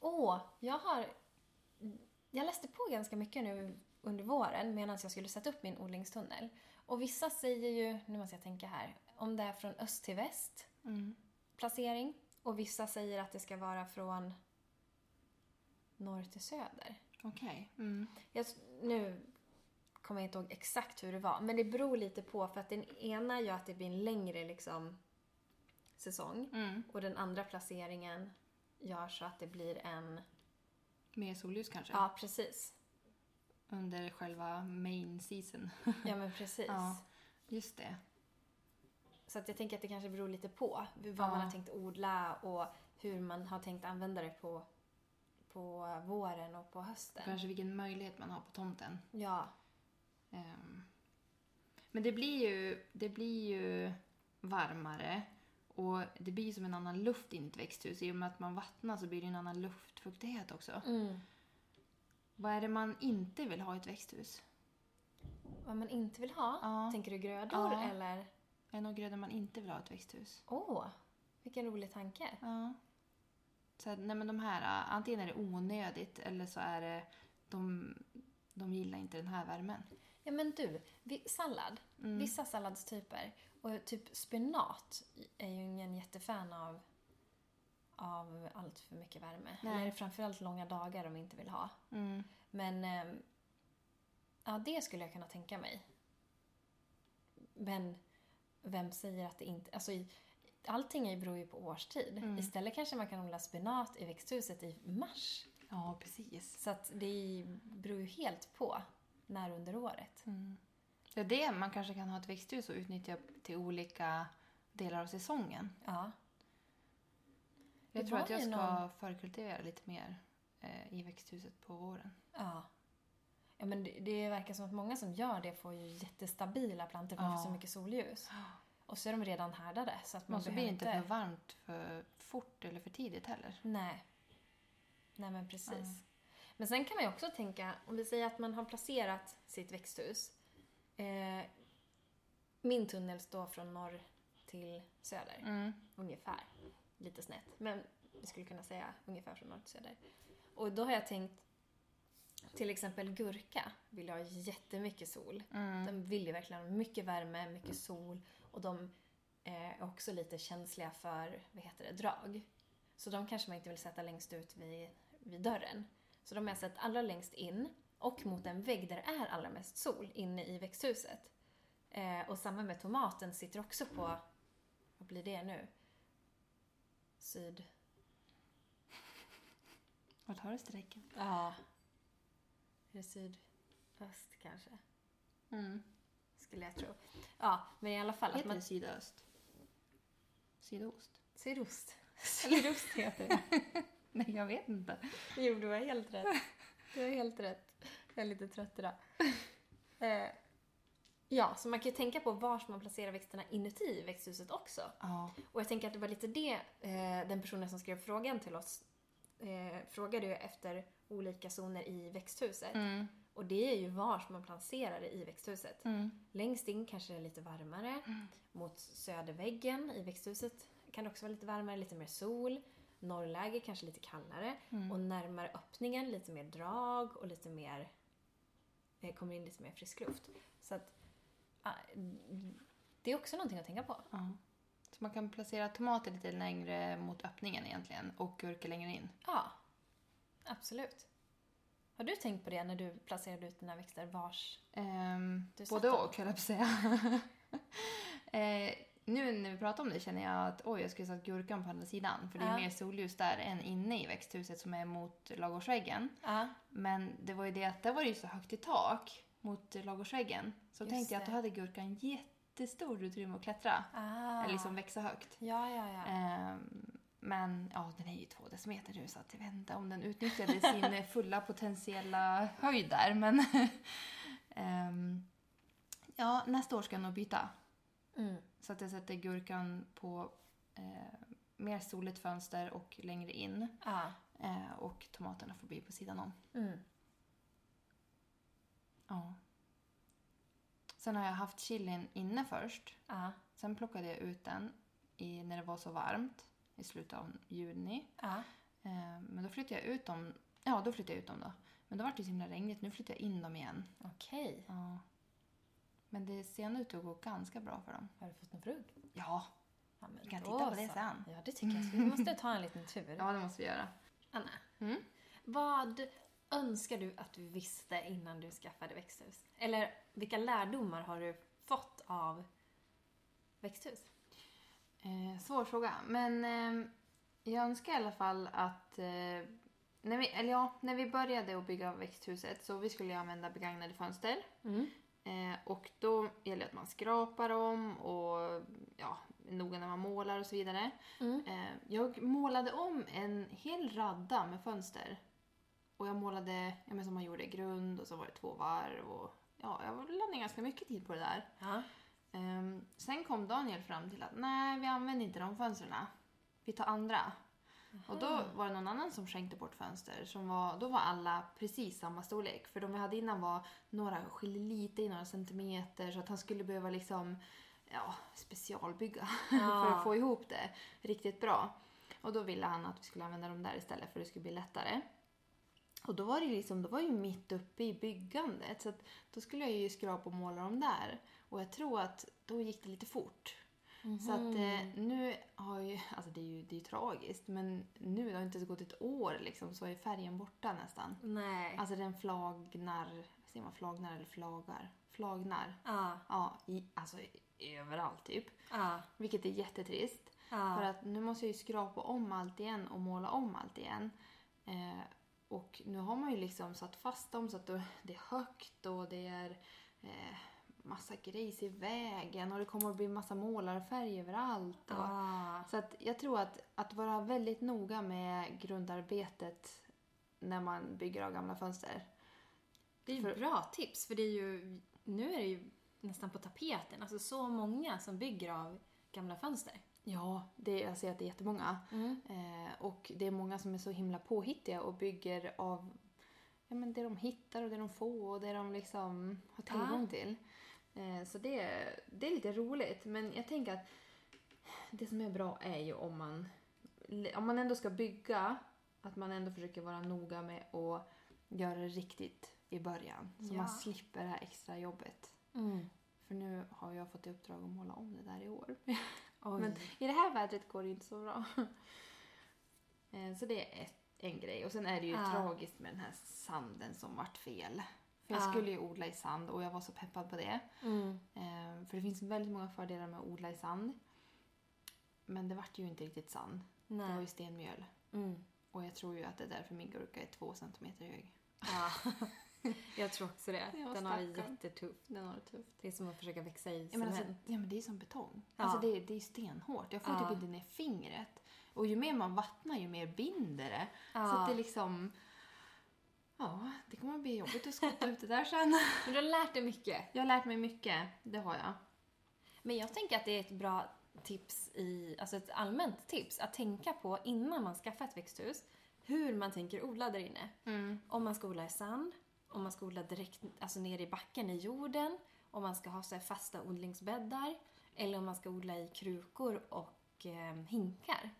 Speaker 2: Åh, jag har jag läste på ganska mycket nu under våren medan jag skulle sätta upp min odlingstunnel. Och vissa säger ju, nu måste jag tänka här, om det är från öst till väst
Speaker 1: Mm.
Speaker 2: placering. Och vissa säger att det ska vara från norr till söder.
Speaker 1: Okej. Mm.
Speaker 2: Jag, nu kommer jag inte ihåg exakt hur det var, men det beror lite på för att den ena gör att det blir en längre liksom, säsong
Speaker 1: Mm.
Speaker 2: och den andra placeringen gör så att det blir en...
Speaker 1: Mer solljus kanske?
Speaker 2: Ja, precis.
Speaker 1: Under själva main season.
Speaker 2: Ja, men precis.
Speaker 1: Ja. Just det.
Speaker 2: Så att jag tänker att det kanske beror lite på hur- vad
Speaker 1: Ja.
Speaker 2: man har tänkt odla och hur man har tänkt använda det på, på våren och på hösten.
Speaker 1: Kanske vilken möjlighet man har på tomten.
Speaker 2: Ja,
Speaker 1: Ehm. Men det blir, ju, det blir ju varmare och det blir som en annan luft in i ett växthus. I och med att man vattnar så blir det en annan luftfuktighet också.
Speaker 2: mm.
Speaker 1: Vad är det man inte vill ha i ett växthus?
Speaker 2: Vad man inte vill ha?
Speaker 1: Ja.
Speaker 2: Tänker du grödor
Speaker 1: Ja.
Speaker 2: eller?
Speaker 1: Är det några grödor man inte vill ha i ett växthus?
Speaker 2: Åh, vilken rolig tanke.
Speaker 1: Ja. Så att, nej men de här, ah, antingen är det onödigt eller så är det de, de gillar inte den här värmen. Mm.
Speaker 2: Ja men du, vi, sallad. Vissa salladstyper. Och typ spenat är ju ingen jättefan av, av allt för mycket värme.
Speaker 1: Nej.
Speaker 2: Eller framförallt långa dagar de inte vill ha.
Speaker 1: Mm.
Speaker 2: Men ehm, ja, det skulle jag kunna tänka mig. Men vem säger att det inte... Alltså, i- allting beror ju på årstid. Istället kanske man kan odla spenat i växthuset i mars.
Speaker 1: Ja, precis.
Speaker 2: Så att det beror ju helt på när under året.
Speaker 1: Det är Mm. det man kanske kan ha ett växthus och utnyttja till olika delar av säsongen.
Speaker 2: Ja.
Speaker 1: Jag
Speaker 2: Det
Speaker 1: tror
Speaker 2: var
Speaker 1: att jag
Speaker 2: ju
Speaker 1: ska
Speaker 2: någon-
Speaker 1: förkultivera lite mer eh, i växthuset på våren.
Speaker 2: Ja. Ja, men det, det verkar som att många som gör det får ju jättestabila plantor för de får
Speaker 1: Ja.
Speaker 2: så mycket solljus. Och så är de redan härdade så att man
Speaker 1: Men så blir
Speaker 2: behöver
Speaker 1: det inte för varmt för fort eller för tidigt heller.
Speaker 2: Nej. Nej men precis. Men sen kan man ju också tänka, om vi säger att man har placerat sitt växthus. Eh, min tunnel står från norr till söder.
Speaker 1: Mm.
Speaker 2: Ungefär. Lite snett. Men vi skulle kunna säga ungefär från norr till söder. Och då har jag tänkt till exempel gurka vill ha jättemycket sol.
Speaker 1: mm.
Speaker 2: De vill ju verkligen ha mycket värme, mycket sol och de eh, är också lite känsliga för, vad heter det, drag. Så de kanske man inte vill sätta längst ut vid, vid dörren. Så de har jag satt allra längst in och mot en vägg där det är allra mest sol inne i växthuset. Eh, och samma med tomaten sitter också på, vad blir det nu? Syd...
Speaker 1: Vart har du strecken?
Speaker 2: Ja. Är det sydöst kanske?
Speaker 1: Mm.
Speaker 2: Skulle jag tro. Ja, men i alla fall att
Speaker 1: Heter
Speaker 2: man...
Speaker 1: det sydöst? Sydost?
Speaker 2: Sydost. Sydost heter det.
Speaker 1: Nej, jag vet inte.
Speaker 2: Jo, du har helt rätt. Du har helt rätt. Jag är lite trött idag. Eh, ja, så man kan ju tänka på var man placerar växterna inuti växthuset också.
Speaker 1: Ja.
Speaker 2: Och jag tänker att det var lite det eh, den personen som skrev frågan till oss eh, frågade ju efter olika zoner i växthuset.
Speaker 1: Mm.
Speaker 2: Och det är ju var man placerar det i växthuset.
Speaker 1: Mm.
Speaker 2: Längst in kanske det är lite varmare. Mot söderväggen i växthuset kan det också vara lite varmare, lite mer sol. Norrläge kanske lite kallare.
Speaker 1: mm.
Speaker 2: Och närmare öppningen lite mer drag och lite mer... Det kommer in lite mer frisk luft. Så att... ah, Det är också någonting att tänka på.
Speaker 1: ja. Så man kan placera tomater lite längre mot öppningen egentligen och gurka längre in.
Speaker 2: Ja. Absolut. Har du tänkt på det när du placerade ut dina växter vars?
Speaker 1: Ehm,
Speaker 2: Du satt
Speaker 1: både
Speaker 2: dem.
Speaker 1: och, höll jag på att säga. eh, nu när vi pratar om det känner jag att oj, jag skulle satt gurkan på andra sidan. För det är
Speaker 2: Ja.
Speaker 1: mer solljus där än inne i växthuset som är mot ladugårdsväggen.
Speaker 2: Ja.
Speaker 1: Men det var ju det att där var det ju så högt i tak mot ladugårdsväggen. Så
Speaker 2: Just
Speaker 1: tänkte jag att då
Speaker 2: det.
Speaker 1: hade gurkan jättestort utrymme att klättra.
Speaker 2: Ah.
Speaker 1: Eller liksom växa högt.
Speaker 2: Ja, ja, ja.
Speaker 1: Ehm, men ja, den är ju två decimeter nu så att jag vet inte om den utnyttjade sin fulla potentiella höjd där. Men ehm, ja, nästa år ska jag nog byta.
Speaker 2: Mm.
Speaker 1: Så att jag sätter gurkan på eh, mer soligt fönster och längre in.
Speaker 2: Ah.
Speaker 1: Eh, och tomaterna får bli på sidan om.
Speaker 2: Mm.
Speaker 1: Ja. Sen har jag haft chilin inne först.
Speaker 2: Ah.
Speaker 1: Sen plockade jag ut den i, när det var så varmt i slutet av juni.
Speaker 2: Ah.
Speaker 1: Eh, Men då flyttade jag ut dem Ja, då flyttade jag ut dem då. Men då var det så himla regnigt. Nu flyttar jag in dem igen.
Speaker 2: Okej.
Speaker 1: Ja. Men det ser ändå ut att gå ganska bra för dem.
Speaker 2: Har du fått en frugg?
Speaker 1: Ja,
Speaker 2: Ja, men
Speaker 1: vi kan
Speaker 2: då
Speaker 1: titta på det
Speaker 2: så.
Speaker 1: sen.
Speaker 2: Ja, det tycker jag. Så Vi måste ta en liten tur.
Speaker 1: Ja, det måste vi göra.
Speaker 2: Anna,
Speaker 1: Mm.
Speaker 2: vad önskar du att du visste innan du skaffade växthus? Eller vilka lärdomar har du fått av växthus?
Speaker 1: Eh, svår fråga, men eh, jag önskar i alla fall att... Eh, när, vi, eller ja, när vi började att bygga växthuset så vi skulle ju använda begagnade fönster. Eh, och då gäller det att man skrapar dem och ja, är noga när man målar och så vidare.
Speaker 2: Mm.
Speaker 1: Eh, jag målade om en hel radda med fönster. Och jag målade ja, men som man gjorde grund och så var det två varv. Och, ja, jag lade ner ganska mycket tid på det där.
Speaker 2: Ja.
Speaker 1: Ehm, sen kom Daniel fram till att nej, vi använder inte de fönstren. Vi tar andra. Och då var det någon annan som skänkte bort fönster. Som var, då var alla precis samma storlek. För de vi hade innan var några skiljer lite i några centimeter så att han skulle behöva liksom ja, specialbygga för
Speaker 2: Ja.
Speaker 1: att få ihop det riktigt bra. Och då ville han att vi skulle använda dem där istället för det skulle bli lättare. Och då var det ju liksom, då var jag ju mitt uppe i byggandet så att då skulle jag ju skrapa och måla dem där. Och jag tror att då gick det lite fort.
Speaker 2: Mhm.
Speaker 1: Så att
Speaker 2: Mm.
Speaker 1: eh, nu har ju, alltså det är ju, det är ju tragiskt, men nu, det har inte ens gått ett år liksom, så är färgen borta nästan.
Speaker 2: Nej.
Speaker 1: Alltså den flagnar, säger man flagnar eller flagar? Flagnar.
Speaker 2: Ja,
Speaker 1: Ja, i, alltså i- överallt typ.
Speaker 2: ja,
Speaker 1: Vilket är jättetrist. För
Speaker 2: ja.
Speaker 1: att nu måste jag ju skrapa om allt igen och måla om allt igen. Eh, och nu har man ju liksom satt fast dem så att då- det är högt och det är eh, massa grejs i vägen och det kommer att bli massa målarfärg överallt. Och,
Speaker 2: Ja.
Speaker 1: Så att jag tror att, att vara väldigt noga med grundarbetet när man bygger av gamla fönster.
Speaker 2: Det är ju
Speaker 1: För-
Speaker 2: bra tips för det är ju, nu är det ju nästan på tapeten. Alltså så många som bygger av gamla fönster.
Speaker 1: Ja, det, jag ser att det är jättemånga. Eh, och det är många som är så himla påhittiga och bygger av ja, men det de hittar och det de får och det de liksom har tillgång till. Eh, så det, det är lite roligt. Men jag tänker att det som är bra är ju om man, om man ändå ska bygga, att man ändå försöker vara noga med att göra det riktigt i början. Så
Speaker 2: Ja.
Speaker 1: man slipper det här extra jobbet.
Speaker 2: Mm.
Speaker 1: För nu har jag fått i uppdrag att måla om det där i år.
Speaker 2: Oj.
Speaker 1: Men i det här vädret går det inte så bra. Eh, Så det är ett, en grej. Och sen är det ju
Speaker 2: Ja.
Speaker 1: tragiskt med den här sanden som vart fel. För jag
Speaker 2: Ja.
Speaker 1: skulle ju odla i sand och jag var så peppad på det.
Speaker 2: Mm.
Speaker 1: Eh, För det finns väldigt många fördelar med att odla i sand. Men det vart ju inte riktigt sand. Det var ju
Speaker 2: Nej.
Speaker 1: stenmjöl.
Speaker 2: Mm.
Speaker 1: Och jag tror ju att det är därför min gurka är två centimeter hög.
Speaker 2: Ja. Jag tror också det.
Speaker 1: Ja,
Speaker 2: Den har det
Speaker 1: stackarn.
Speaker 2: jättetufft.
Speaker 1: Den har det tufft.
Speaker 2: Det är som att försöka växa i
Speaker 1: Ja men, alltså,
Speaker 2: typ cement.
Speaker 1: ja men det är som betong.
Speaker 2: Ja.
Speaker 1: Alltså det, är- det är stenhårt. Jag får
Speaker 2: Ja.
Speaker 1: typ inte ner fingret. Och ju mer man vattnar ju mer binder det. Så
Speaker 2: Ja.
Speaker 1: att det liksom... Ja, det kommer att bli jobbigt att skotta ut det där sen.
Speaker 2: Men du har lärt dig mycket.
Speaker 1: Jag har lärt mig mycket, det har jag.
Speaker 2: Men jag tänker att det är ett bra tips i, alltså ett allmänt tips att tänka på innan man skaffar ett växthus hur man tänker odla där inne. Om man ska odla i sand, om man ska odla direkt alltså ner i backen i jorden, om man ska ha så här fasta odlingsbäddar eller om man ska odla i krukor och eh, hinkar.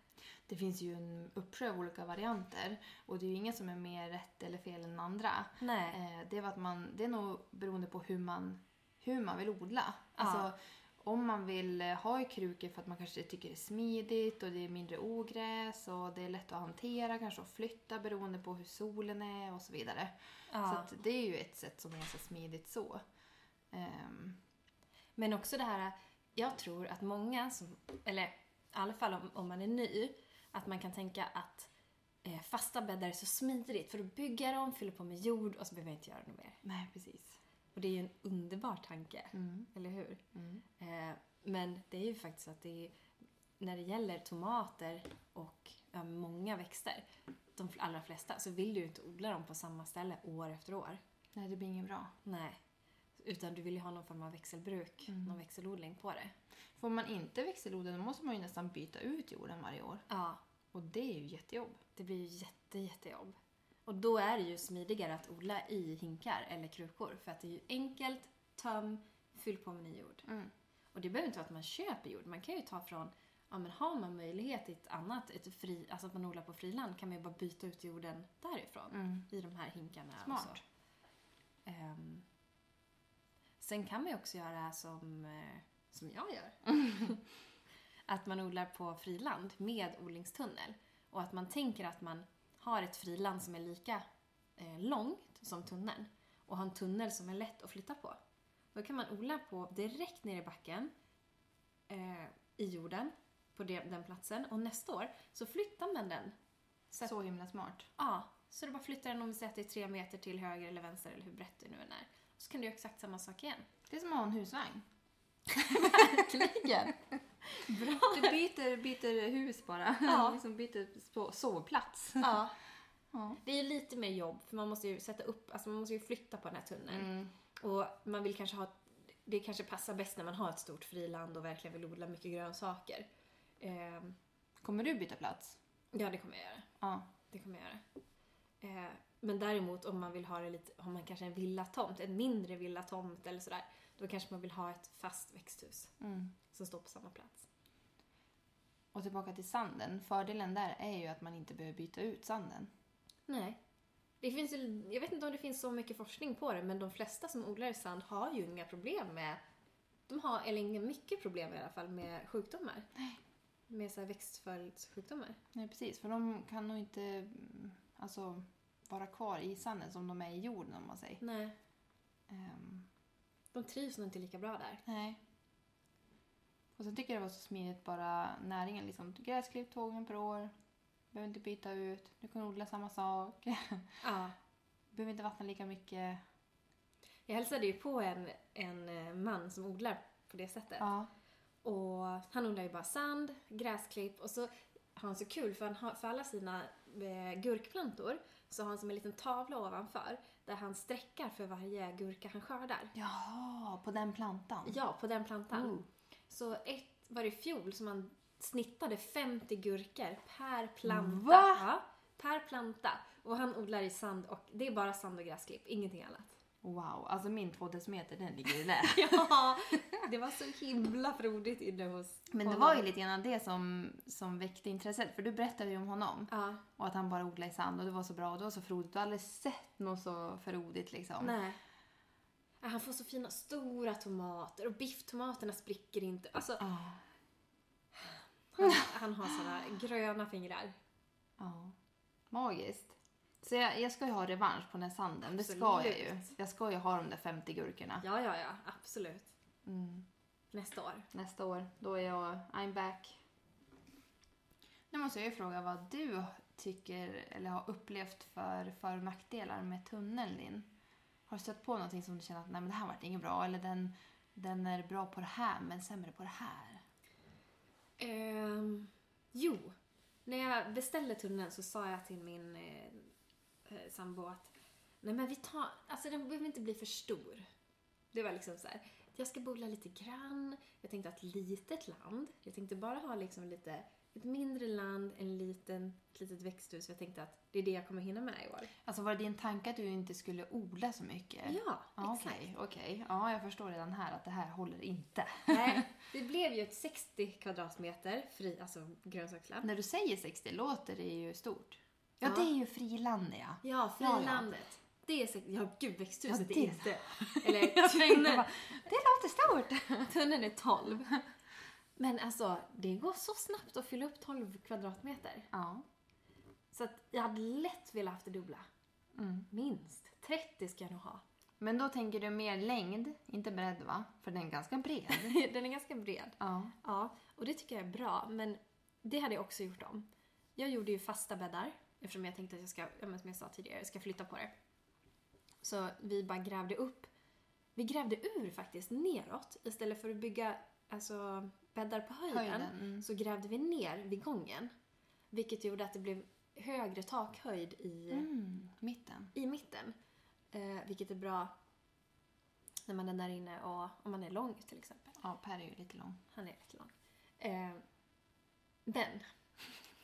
Speaker 1: Det finns ju en uppsjö av olika varianter och det är ju ingen som är mer rätt eller fel än andra.
Speaker 2: Nej.
Speaker 1: Eh, Det är, att man, det är nog beroende på hur man, hur man vill odla. Alltså, om man vill eh, ha i krukor för att man kanske tycker det är smidigt och det är mindre ogräs och det är lätt att hantera, kanske att flytta beroende på hur solen är och så vidare. Så
Speaker 2: Ja.
Speaker 1: att det är ju ett sätt som är ganska smidigt så. Ehm,
Speaker 2: Men också det här, jag tror att många som, eller i alla fall om, om man är ny, att man kan tänka att eh, fasta bäddar är så smidigt för då bygger jag dem, fyller på med jord och så behöver jag inte göra något mer.
Speaker 1: nej, precis.
Speaker 2: Och det är ju en underbar tanke,
Speaker 1: Mm.
Speaker 2: eller hur?
Speaker 1: Mm.
Speaker 2: Eh, men det är ju faktiskt att det är, när det gäller tomater och ja, många växter, de fl- allra flesta, så vill du ju inte odla dem på samma ställe år efter år.
Speaker 1: Nej, det blir inget bra.
Speaker 2: Nej. Utan du vill ju ha någon form av växelbruk, någon växelodling på det.
Speaker 1: Får man inte växelodling då måste man ju nästan byta ut jorden varje år.
Speaker 2: Ja,
Speaker 1: Och det är ju jättejobb.
Speaker 2: Det blir ju jätte, jättejobb. Och då är det ju smidigare att odla i hinkar eller krukor för att det är ju enkelt, töm, fyll på med ny jord.
Speaker 1: Mm.
Speaker 2: Och det behöver inte vara att man köper jord, man kan ju ta från ja, men har man möjlighet i ett annat, ett fri, alltså att man odlar på friland kan man ju bara byta ut jorden därifrån.
Speaker 1: Mm.
Speaker 2: I de här hinkarna. och
Speaker 1: Smart.
Speaker 2: så. Ehm, sen kan man ju också göra som, eh, som jag gör. att man odlar på friland med odlingstunnel. Och att man tänker att man har ett friland som är lika eh, långt som tunneln. Och har en tunnel som är lätt att flytta på. Då kan man odla på direkt ner i backen eh, i jorden på det, den platsen och nästa år så flyttar man den. Så, att,
Speaker 1: Så himla smart.
Speaker 2: ja, så du bara flyttar den om vi säger att det är tre meter till höger eller vänster eller hur brett det nu än är. Så kan du göra exakt samma sak igen.
Speaker 1: Det är som att ha en husvagn.
Speaker 2: Verkligen! Bra!
Speaker 1: Du byter, byter hus bara.
Speaker 2: Ja.
Speaker 1: liksom byter so- sovplats.
Speaker 2: Ja.
Speaker 1: Ja.
Speaker 2: Det är ju lite mer jobb för man måste ju sätta upp, alltså man måste ju flytta på den här tunneln.
Speaker 1: Mm.
Speaker 2: Och man vill kanske ha, det kanske passar bäst när man har ett stort friland och verkligen vill odla mycket grönsaker. Ehm,
Speaker 1: Kommer du byta plats?
Speaker 2: ja, det kommer jag göra.
Speaker 1: Ja.
Speaker 2: Det kommer jag göra. Eh, men däremot om man vill ha det lite, om man kanske har en villatomt, en mindre villatomt eller sådär, då kanske man vill ha ett fast växthus som står på samma plats.
Speaker 1: Mm. Och tillbaka till sanden. Fördelen där är ju att man inte behöver byta ut sanden.
Speaker 2: Nej. Det finns, ju- jag vet inte om det finns så mycket forskning på det, men de flesta som odlar i sand har ju inga problem med, de har, eller inga mycket problem i alla fall, med sjukdomar.
Speaker 1: Nej.
Speaker 2: Med så här växtföljdssjukdomar.
Speaker 1: Nej, precis. För de kan nog inte mm, alltså, vara kvar i sanden som de är i jorden om man säger.
Speaker 2: Nej.
Speaker 1: Ehm,
Speaker 2: De trivs nog inte lika bra där.
Speaker 1: nej. Och sen tycker jag det var så smidigt bara näringen liksom. Gräsklipp två gånger per år. Behöver inte byta ut. Du kan odla samma sak.
Speaker 2: Ja.
Speaker 1: Behöver inte vattna lika mycket.
Speaker 2: Jag hälsade ju på en, en eh, man som odlar på det sättet.
Speaker 1: Ja.
Speaker 2: Och han odlar ju bara sand, gräsklipp och så har han så kul för, han har, för alla sina eh, gurkplantor så har han som en liten tavla ovanför där han sträckar för varje gurka han skördar.
Speaker 1: Jaha, på den plantan.
Speaker 2: Ja, på den plantan.
Speaker 1: Oh.
Speaker 2: Så ett var det i fjol som han snittade 50 gurkor per planta.
Speaker 1: Va?
Speaker 2: Ja, per planta. Och han odlar i sand och det är bara sand och gräsklipp, ingenting annat.
Speaker 1: Wow, alltså min två decimeter den ligger ju där.
Speaker 2: Ja, det var så himla frodigt inne hos
Speaker 1: Men det
Speaker 2: honom.
Speaker 1: var ju lite grann det som, som väckte intresset. För du berättade ju om honom.
Speaker 2: Ja,
Speaker 1: Och att han bara odlade i sand och det var så bra och det var så frodigt. Du har aldrig sett något så frodigt liksom.
Speaker 2: nej. Ja, Han får så fina stora tomater och bifftomaterna spricker inte. Alltså,
Speaker 1: Ja.
Speaker 2: han, han har sådana gröna fingrar.
Speaker 1: Ja. Magiskt. Så jag, jag ska ju ha revansch på den här sanden. Det ska jag ju.
Speaker 2: Absolut.
Speaker 1: Jag ska ju ha de där 50 gurkorna.
Speaker 2: Ja, ja, ja, absolut.
Speaker 1: Mm.
Speaker 2: Nästa år.
Speaker 1: Nästa år. Då är jag... I'm back. Nu måste jag ju fråga vad du tycker eller har upplevt för för och nackdelar med tunneln Linn. Har du stött på någonting som du känner att nej men det här vart inget bra eller den, den är bra på det här men sämre på det här?
Speaker 2: Ehm, jo, när jag beställde tunneln så sa jag till min eh, eh, sambo att nej men vi tar, alltså den behöver inte bli för stor. Det var liksom så här, jag ska bolla lite grann, jag tänkte ha ett litet land, jag tänkte bara ha liksom lite, ett mindre land, en liten, ett litet växthus, jag tänkte att det är det jag kommer hinna med i år.
Speaker 1: Alltså var det din tanke att du inte skulle odla så mycket?
Speaker 2: Ja,
Speaker 1: Ja,
Speaker 2: exakt.
Speaker 1: Eh, ah, Okej, okej. Ja, jag förstår redan här att det här håller inte.
Speaker 2: Nej, det blev ju ett 60 kvadratmeter fri, alltså grönsaksland.
Speaker 1: När du säger 60 låter det ju stort. Ja,
Speaker 2: Ja.
Speaker 1: det är ju friland ja.
Speaker 2: Ja,
Speaker 1: Ja, ja.
Speaker 2: frilandet. Det är säkert, ja gud växthuset
Speaker 1: Ja,
Speaker 2: är
Speaker 1: det-
Speaker 2: inte, eller
Speaker 1: Jag tänkte
Speaker 2: tunneln,
Speaker 1: bara, det låter stort.
Speaker 2: tunneln är 12. Men alltså, det går så snabbt att fylla upp 12 kvadratmeter.
Speaker 1: Ja.
Speaker 2: Så att jag hade lätt velat haft det dubbla.
Speaker 1: Mm.
Speaker 2: Minst 30 ska jag nog ha.
Speaker 1: Men då tänker du mer längd, inte bredd va? För den är ganska bred.
Speaker 2: Den är ganska bred.
Speaker 1: Ja.
Speaker 2: Ja, och det tycker jag är bra, men det hade jag också gjort om. Jag gjorde ju fasta bäddar, eftersom jag tänkte att jag ska, ja, men som jag sa tidigare, jag ska flytta på det. Så vi bara grävde upp, vi grävde ur faktiskt neråt istället för att bygga alltså, bäddar på höjden,
Speaker 1: Höjden, mm.
Speaker 2: så grävde vi ner vid gången. Vilket gjorde att det blev högre takhöjd i,
Speaker 1: Mm, mitten.
Speaker 2: i mitten. Eh, vilket är bra när man är där inne och om man är lång till exempel.
Speaker 1: Ja, Per är ju lite lång.
Speaker 2: Han är rätt lång. Eh, men.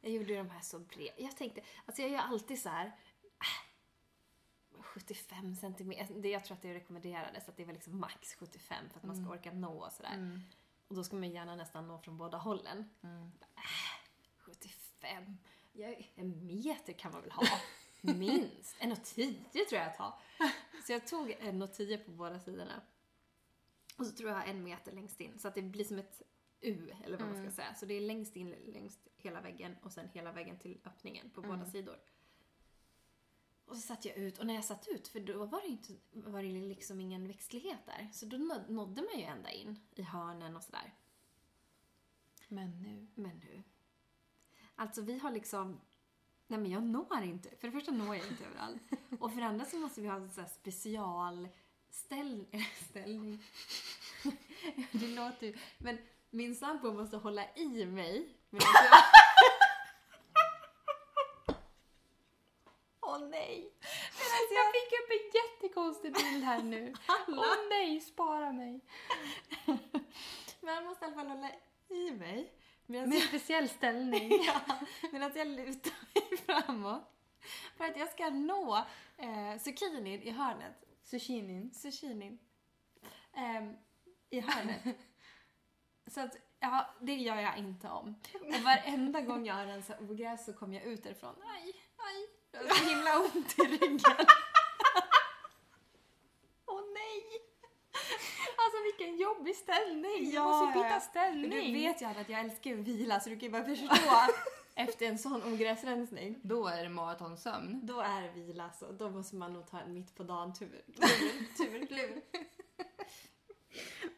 Speaker 2: Jag gjorde de här så breda. Jag tänkte, alltså jag gör alltid så här. äh, 75
Speaker 1: Mm.
Speaker 2: centimeter. Det, jag tror att det rekommenderades att det var liksom max 75 för att man ska orka nå och sådär. Och då ska man gärna nästan nå från båda hållen.
Speaker 1: Mm.
Speaker 2: Äh, 75. Jag, en meter kan man väl ha? Minst. 1,10 tror jag att ha. Så jag tog 1,10 på båda sidorna. Och så tror jag jag har en meter längst in. Så att det blir som ett U, eller vad man ska säga. Så det är längst in längs hela väggen och sen hela väggen till öppningen på båda sidor. Och så satt jag ut och när jag satt ut, för då var det, inte, var det liksom ingen växtlighet där. Så då nå- nådde man ju ända in i hörnen och sådär.
Speaker 1: Men nu.
Speaker 2: Men nu. Alltså vi har liksom... Nej men jag når inte. För det första når jag inte överallt. Och för det andra så måste vi ha en sån här specialställning. Ställning. Det låter ju... Men min sambo måste hålla i mig. medan jag... Åh nej! Medan jag...
Speaker 1: alltså, Jag fick upp en jättekonstig bild här nu. Åh nej, spara mig.
Speaker 2: Men han måste i alla fall hålla i mig. Medan
Speaker 1: Med en speciell ställning.
Speaker 2: Ja, men att jag lutar mig framåt. För att jag ska nå eh, zucchinin i hörnet.
Speaker 1: Zucchinin.
Speaker 2: Zucchinin. Ehm, I hörnet. Så att, ja, det gör jag inte om. Och varenda gång jag har rensat ogräs så kommer jag ut därifrån. Aj, aj. Jag har så himla ont i ryggen. Åh nej!
Speaker 1: Alltså vilken jobbig ställning.
Speaker 2: Ja,
Speaker 1: du måste ju
Speaker 2: ja.
Speaker 1: byta ställning.
Speaker 2: Du vet ju Anna, att jag älskar att vila så du kan ju bara förstå. Efter en sån ogräsrensning.
Speaker 1: Då är det maratonsömn.
Speaker 2: Då är det vila alltså. Då måste man nog ta en mitt på dagen tur. Tur, tur, tur.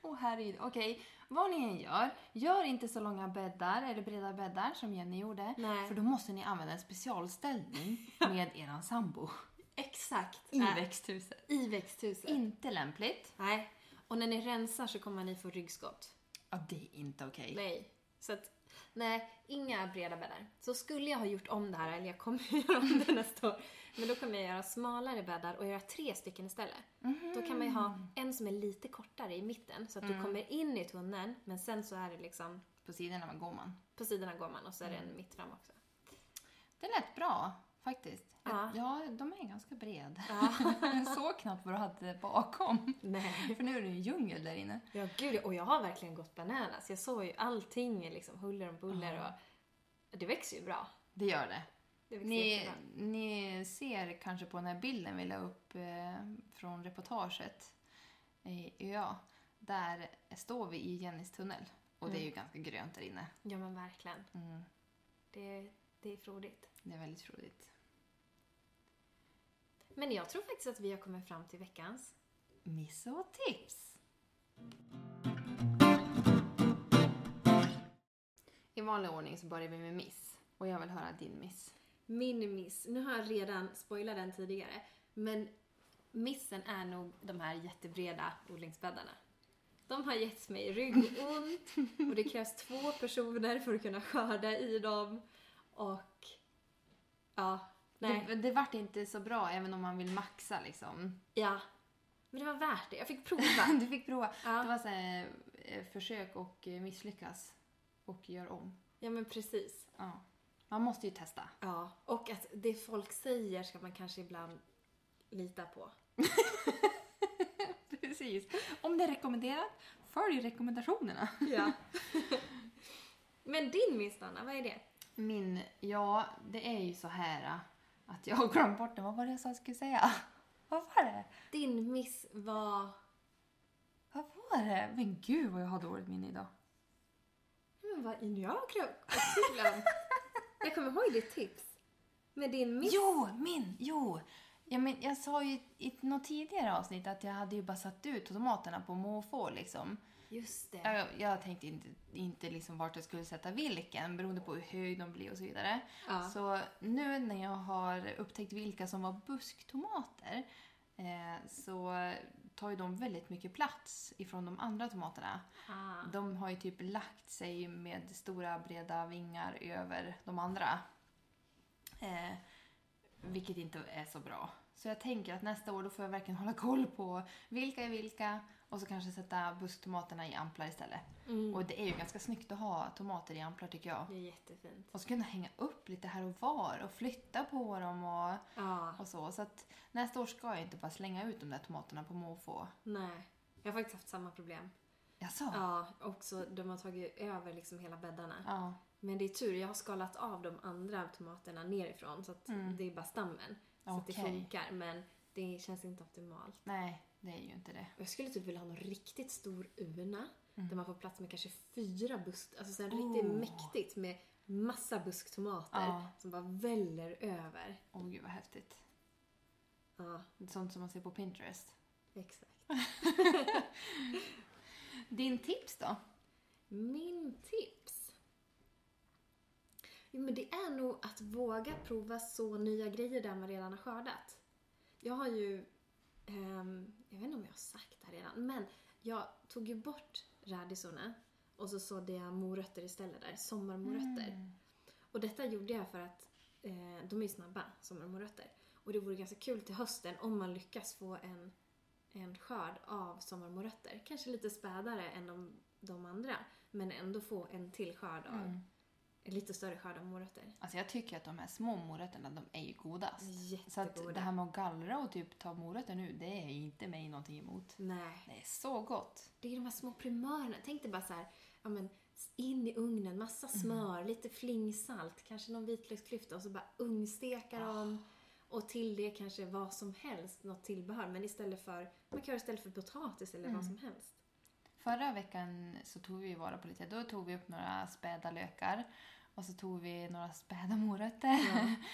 Speaker 1: Åh herregud. Okej, vad ni än gör, gör inte så långa bäddar eller breda bäddar som Jenny gjorde.
Speaker 2: Nej.
Speaker 1: För då måste ni använda en specialställning med eran sambo.
Speaker 2: Exakt.
Speaker 1: I
Speaker 2: Nej,
Speaker 1: växthuset.
Speaker 2: I växthuset.
Speaker 1: Inte lämpligt.
Speaker 2: Nej. Och när ni rensar så kommer ni få ryggskott.
Speaker 1: Ja, det är inte okej.
Speaker 2: Nej. Så att, nej, inga breda bäddar. Så skulle jag ha gjort om det här, eller jag kommer göra om det nästa år, men då kommer jag göra smalare bäddar och göra tre stycken istället. Då kan man ju
Speaker 1: Mm.
Speaker 2: ha en som är lite kortare i mitten, så att du kommer in i tunneln, men sen så är det liksom,
Speaker 1: På sidorna man går man.
Speaker 2: på sidorna går man och så är det
Speaker 1: Mm.
Speaker 2: en mitt fram också.
Speaker 1: Det lät bra faktiskt.
Speaker 2: Ja.
Speaker 1: ja de är ganska breda.
Speaker 2: Ja.
Speaker 1: Jag såg knappt vad du hade bakom.
Speaker 2: Nej.
Speaker 1: För nu är det ju djungel där inne.
Speaker 2: Ja, gud. Och jag har verkligen gått bananas. Jag såg ju allting i liksom huller om buller och det växer ju bra.
Speaker 1: Det gör det.
Speaker 2: Det växer
Speaker 1: Ni,
Speaker 2: jättebra.
Speaker 1: ni ser kanske på den här bilden vi la upp eh, från reportaget i ÖA. Där står vi i Jennys tunnel. Och det är ju ganska grönt där inne.
Speaker 2: Ja, men verkligen.
Speaker 1: Mm,
Speaker 2: Det, det är frodigt.
Speaker 1: det är väldigt frodigt.
Speaker 2: Men jag tror faktiskt att vi har kommit fram till veckans.
Speaker 1: Miss och tips! I vanlig ordning så börjar vi med miss. Och jag vill höra din miss.
Speaker 2: Min miss. Nu har jag redan spoilat den tidigare. Men missen är nog de här jättebreda odlingsbäddarna. De har gett mig ryggont och det krävs två personer för att kunna skörda i dem. Och... Ja. Nej.
Speaker 1: Det, det vart inte så bra även om man vill maxa liksom.
Speaker 2: Ja. Men det var värt det. Jag fick prova.
Speaker 1: Du fick prova. Det
Speaker 2: ja.
Speaker 1: var så här, eh, försök och eh, misslyckas. Och gör om.
Speaker 2: ja, men precis.
Speaker 1: Ja. Man måste ju testa.
Speaker 2: Ja. Och att det folk säger ska man kanske ibland lita på.
Speaker 1: Precis. Om det är rekommenderat, följ rekommendationerna.
Speaker 2: Ja. men din minst, Anna, vad är det?
Speaker 1: Min, ja, det är ju så här äh, att jag har glömt bort den. Vad var det jag sa jag skulle säga? Vad var det?
Speaker 2: Din miss var...
Speaker 1: Vad var det? Men gud vad jag har dåligt minne idag.
Speaker 2: Men Mm, vad nu har jag glömt. också glömt. Jag kommer ihåg ditt tips. Men din miss...
Speaker 1: Jo, min, jo. Ja, men jag sa ju i något tidigare avsnitt att jag hade ju bara satt ut tomaterna på måfå liksom.
Speaker 2: Just det.
Speaker 1: Jag, jag tänkte inte, inte liksom vart jag skulle sätta vilken beroende på hur hög de blir och så vidare.
Speaker 2: Ja.
Speaker 1: Så nu när jag har upptäckt vilka som var busktomater eh, så tar ju de väldigt mycket plats ifrån de andra tomaterna.
Speaker 2: Ah.
Speaker 1: De har ju typ lagt sig med stora breda vingar över de andra. Eh, vilket inte är så bra. Så jag tänker att nästa år då får jag verkligen hålla koll på vilka är vilka och så kanske sätta busktomaterna i amplar istället.
Speaker 2: Mm.
Speaker 1: Och det är ju ganska snyggt att ha tomater i amplar tycker jag.
Speaker 2: Det är jättefint.
Speaker 1: Och så kunna hänga upp lite här och var och flytta på dem och,
Speaker 2: Ja.
Speaker 1: och så. Så att nästa år ska jag inte bara slänga ut de där tomaterna på måfå.
Speaker 2: Nej. Jag har faktiskt haft samma problem.
Speaker 1: Jaså?
Speaker 2: Ja, också, de har tagit över liksom hela bäddarna.
Speaker 1: Ja.
Speaker 2: Men det är tur, jag har skalat av de andra tomaterna nerifrån så att det är bara stammen. Så att det
Speaker 1: Okej.
Speaker 2: funkar, men det känns inte optimalt.
Speaker 1: Nej, det är ju inte det.
Speaker 2: Och Jag skulle typ vilja ha någon riktigt stor urna där man får plats med kanske fyra busk... Alltså så här
Speaker 1: Oh.
Speaker 2: riktigt mäktigt med massa busktomater
Speaker 1: Ja.
Speaker 2: som bara väller över.
Speaker 1: Åh gud vad häftigt.
Speaker 2: Ja,
Speaker 1: Det är Sånt som man ser på Pinterest.
Speaker 2: exakt.
Speaker 1: Din tips då?
Speaker 2: Min tips? Jo, men det är nog att våga prova så nya grejer där man redan har skördat. Jag har ju... ehm, jag vet inte om jag har sagt det här redan, men jag tog ju bort radisorna och så sådde jag morötter istället där, sommarmorötter.
Speaker 1: Mm.
Speaker 2: Och detta gjorde jag för att eh, de är ju snabba, sommarmorötter. Och det vore ganska kul till hösten om man lyckas få en, en skörd av sommarmorötter. Kanske lite spädare än de, de andra, men ändå få en till skörd av,
Speaker 1: Mm.
Speaker 2: en lite större skörd av morötter.
Speaker 1: Alltså jag tycker att de här små morötterna, de är ju godast. Så att
Speaker 2: Jättegoda.
Speaker 1: det här med att gallra och typ ta morötter nu, det är inte mig någonting emot.
Speaker 2: Nej,
Speaker 1: Det är så gott.
Speaker 2: det är de här små primörerna. Tänk dig bara så här, ja men in i ugnen, massa smör, lite flingsalt, kanske någon vitlöksklyfta och så bara ugnsteka dem. Och till det kanske vad som helst, något tillbehör. Men istället för, man kan göra istället för potatis eller vad som helst.
Speaker 1: Förra veckan så tog vi vara på lite, då tog vi upp några späda lökar och så tog vi några späda morötter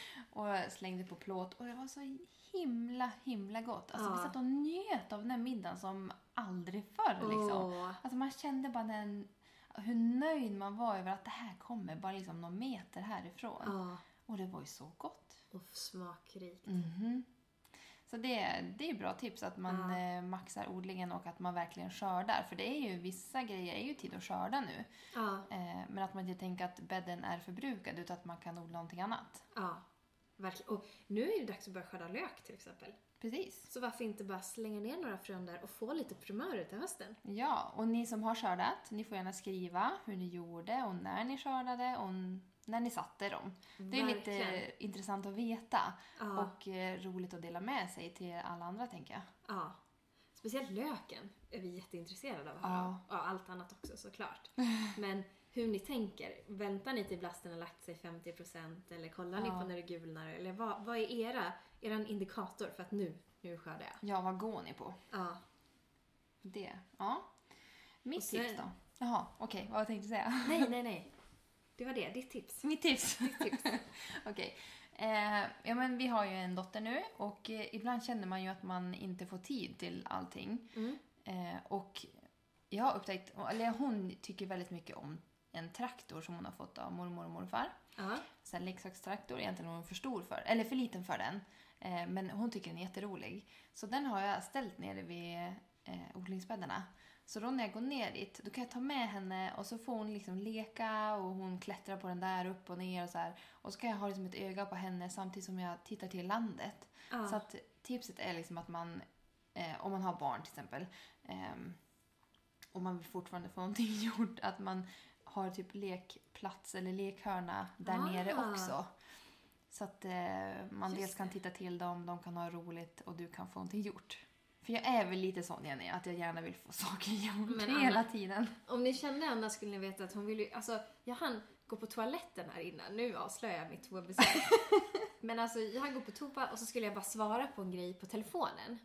Speaker 1: och slängde på plåt och det var så himla, himla gott. Alltså vi
Speaker 2: Ja.
Speaker 1: satt och njöt av den här middagen som aldrig förr liksom.
Speaker 2: Åh.
Speaker 1: Alltså man kände bara den, hur nöjd man var över att det här kommer bara liksom någon meter härifrån.
Speaker 2: Ja,
Speaker 1: Och det var ju så gott.
Speaker 2: och smakrikt.
Speaker 1: Mm-hmm. Så det, det är bra tips att man
Speaker 2: Ja.
Speaker 1: eh, maxar odlingen och att man verkligen skördar. För det är ju vissa grejer är ju tid att skörda nu.
Speaker 2: Ja,
Speaker 1: Eh, men att man inte tänker att bädden är förbrukad utan att man kan odla någonting annat.
Speaker 2: ja. Verkligen. Och nu är det dags att börja skörda lök till exempel.
Speaker 1: Precis.
Speaker 2: Så varför inte bara slänga ner några frön där och få lite primörer till hösten?
Speaker 1: Ja, och ni som har skördat, ni får gärna skriva hur ni gjorde och när ni skördade och när ni satte dem. Det är lite
Speaker 2: Verkligen.
Speaker 1: intressant att veta
Speaker 2: Ja.
Speaker 1: och eh, roligt att dela med sig till alla andra tänker jag.
Speaker 2: Ja. Speciellt löken är vi jätteintresserade av att
Speaker 1: Ja.
Speaker 2: höra. om. Ja, allt annat också såklart. Men hur ni tänker. Väntar ni till blasten har lagt sig 50% eller kollar ni
Speaker 1: Ja.
Speaker 2: på när det gulnar? Eller vad, vad är era, eran indikator för att nu, nu skördar jag?
Speaker 1: Ja, vad går ni på?
Speaker 2: Ja.
Speaker 1: Det, ja. Mitt
Speaker 2: Och sen-
Speaker 1: tips då? Jaha, okej, vad tänkte jag säga?
Speaker 2: Nej, nej, nej. Det var det, ditt tips.
Speaker 1: Mitt tips? okej. Eh, ja, men vi har ju en dotter nu och eh, ibland känner man ju att man inte får tid till allting.
Speaker 2: Mm.
Speaker 1: Eh, och jag har upptäckt, eller hon tycker väldigt mycket om en traktor som hon har fått av mormor och morfar.
Speaker 2: Ja.
Speaker 1: Så här leksakstraktor, egentligen var hon för stor för, eller för liten för den. Eh, men hon tycker den är jätterolig. Så den har jag ställt nere vid eh, odlingsbäddarna. Så då när jag går ner dit, då kan jag ta med henne och så får hon liksom leka och hon klättrar på den där upp och ner och så här. Och så kan jag ha liksom ett öga på henne samtidigt som jag tittar till landet.
Speaker 2: Ja.
Speaker 1: Så att tipset är liksom att man, eh, om man har barn till exempel, ehm, och man vill fortfarande få någonting gjort, att man har typ lekplats eller lekhörna där
Speaker 2: Ah.
Speaker 1: nere också. Så att eh, man
Speaker 2: Just
Speaker 1: dels kan titta till dem, de kan ha roligt och du kan få någonting gjort. För jag är väl lite sån Jenny, att jag gärna vill få saker gjort
Speaker 2: Men
Speaker 1: hela
Speaker 2: Anna-
Speaker 1: tiden.
Speaker 2: Om ni kände Anna skulle ni veta att hon ville ju, alltså jag hann gå på toaletten här innan, nu avslöjar jag mitt toabesök. Men alltså jag hann gå på toa och så skulle jag bara svara på en grej på telefonen.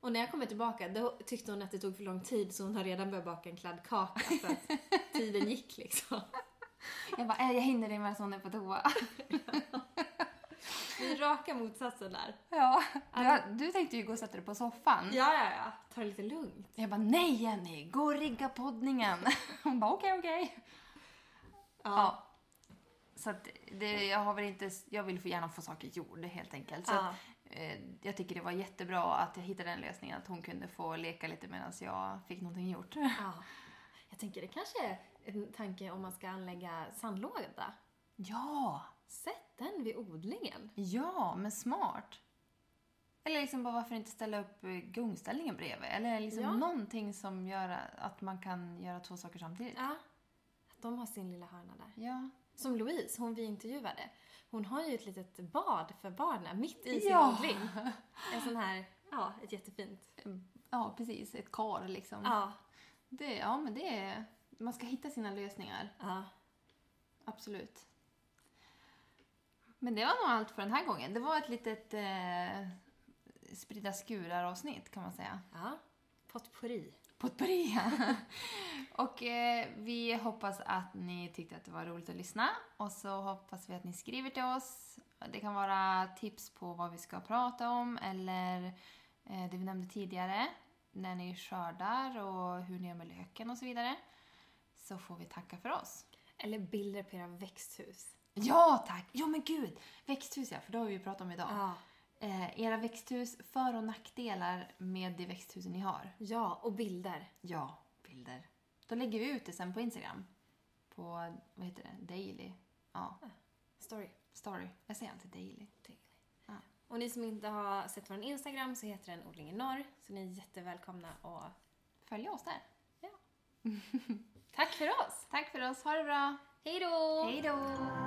Speaker 2: Och när jag kommer tillbaka då tyckte hon att det tog för lång tid så hon har redan börjat baka en kladdkaka för att tiden gick liksom.
Speaker 1: Jag bara, äh, jag hinner det medan hon är på toa.
Speaker 2: Vi är raka motsatsen där.
Speaker 1: Ja. Du, du tänkte ju gå och sätta dig på soffan.
Speaker 2: Mm. Ja, ja, ja. Ta det lite lugnt.
Speaker 1: Jag bara, nej Jenny, gå och rigga poddningen. Hon bara, okej, okej. Ja. Så att det, jag har väl inte, jag vill få- gärna få saker gjorda helt enkelt. Så
Speaker 2: Ja.
Speaker 1: att, eh, jag tycker det var jättebra att jag hittade den lösningen, att hon kunde få leka lite medan jag fick någonting gjort.
Speaker 2: ja. Jag tänker det kanske är en tanke om man ska anlägga sandlåda.
Speaker 1: Ja!
Speaker 2: Sätt den vid odlingen.
Speaker 1: Ja, men smart. Eller liksom bara varför inte ställa upp eh, gungställningen bredvid? Eller liksom
Speaker 2: Ja.
Speaker 1: någonting som gör att man kan göra två saker samtidigt.
Speaker 2: Ja. Att de har sin lilla hörna där.
Speaker 1: Ja.
Speaker 2: Som Louise, hon vi intervjuade. Hon har ju ett litet bad för barnen mitt i sin
Speaker 1: Ja.
Speaker 2: odling. En sån här, ja, ett jättefint. Mm.
Speaker 1: Ja, precis. Ett kar liksom.
Speaker 2: Ja.
Speaker 1: Det, ja, men det är... Man ska hitta sina lösningar.
Speaker 2: Ja.
Speaker 1: Absolut. Men det var nog allt för den här gången. Det var ett litet eh, sprida skurar-avsnitt kan man säga.
Speaker 2: ja. Potpourri.
Speaker 1: Potpourri! och eh, vi hoppas att ni tyckte att det var roligt att lyssna. Och så hoppas vi att ni skriver till oss. Det kan vara tips på vad vi ska prata om eller eh, det vi nämnde tidigare. När ni skördar och hur ni gör med löken och så vidare. Så får vi tacka för oss.
Speaker 2: Eller bilder på era växthus.
Speaker 1: Ja tack! Ja men gud! Växthus ja, för det har vi ju pratat om idag.
Speaker 2: Ja.
Speaker 1: Eh, era växthus, för och nackdelar med de växthusen ni har.
Speaker 2: Ja, och bilder.
Speaker 1: Ja, bilder. Då lägger vi ut det sen på Instagram. På, vad heter det? Daily? Ja,
Speaker 2: Story.
Speaker 1: story. Jag säger alltid daily. typ. Ja.
Speaker 2: Och ni som inte har sett vår Instagram så heter den Odling i norr. Så ni är jättevälkomna och
Speaker 1: Följ oss där.
Speaker 2: tack för oss!
Speaker 1: Tack för oss, ha det bra!
Speaker 2: Hej då!
Speaker 1: Hej då!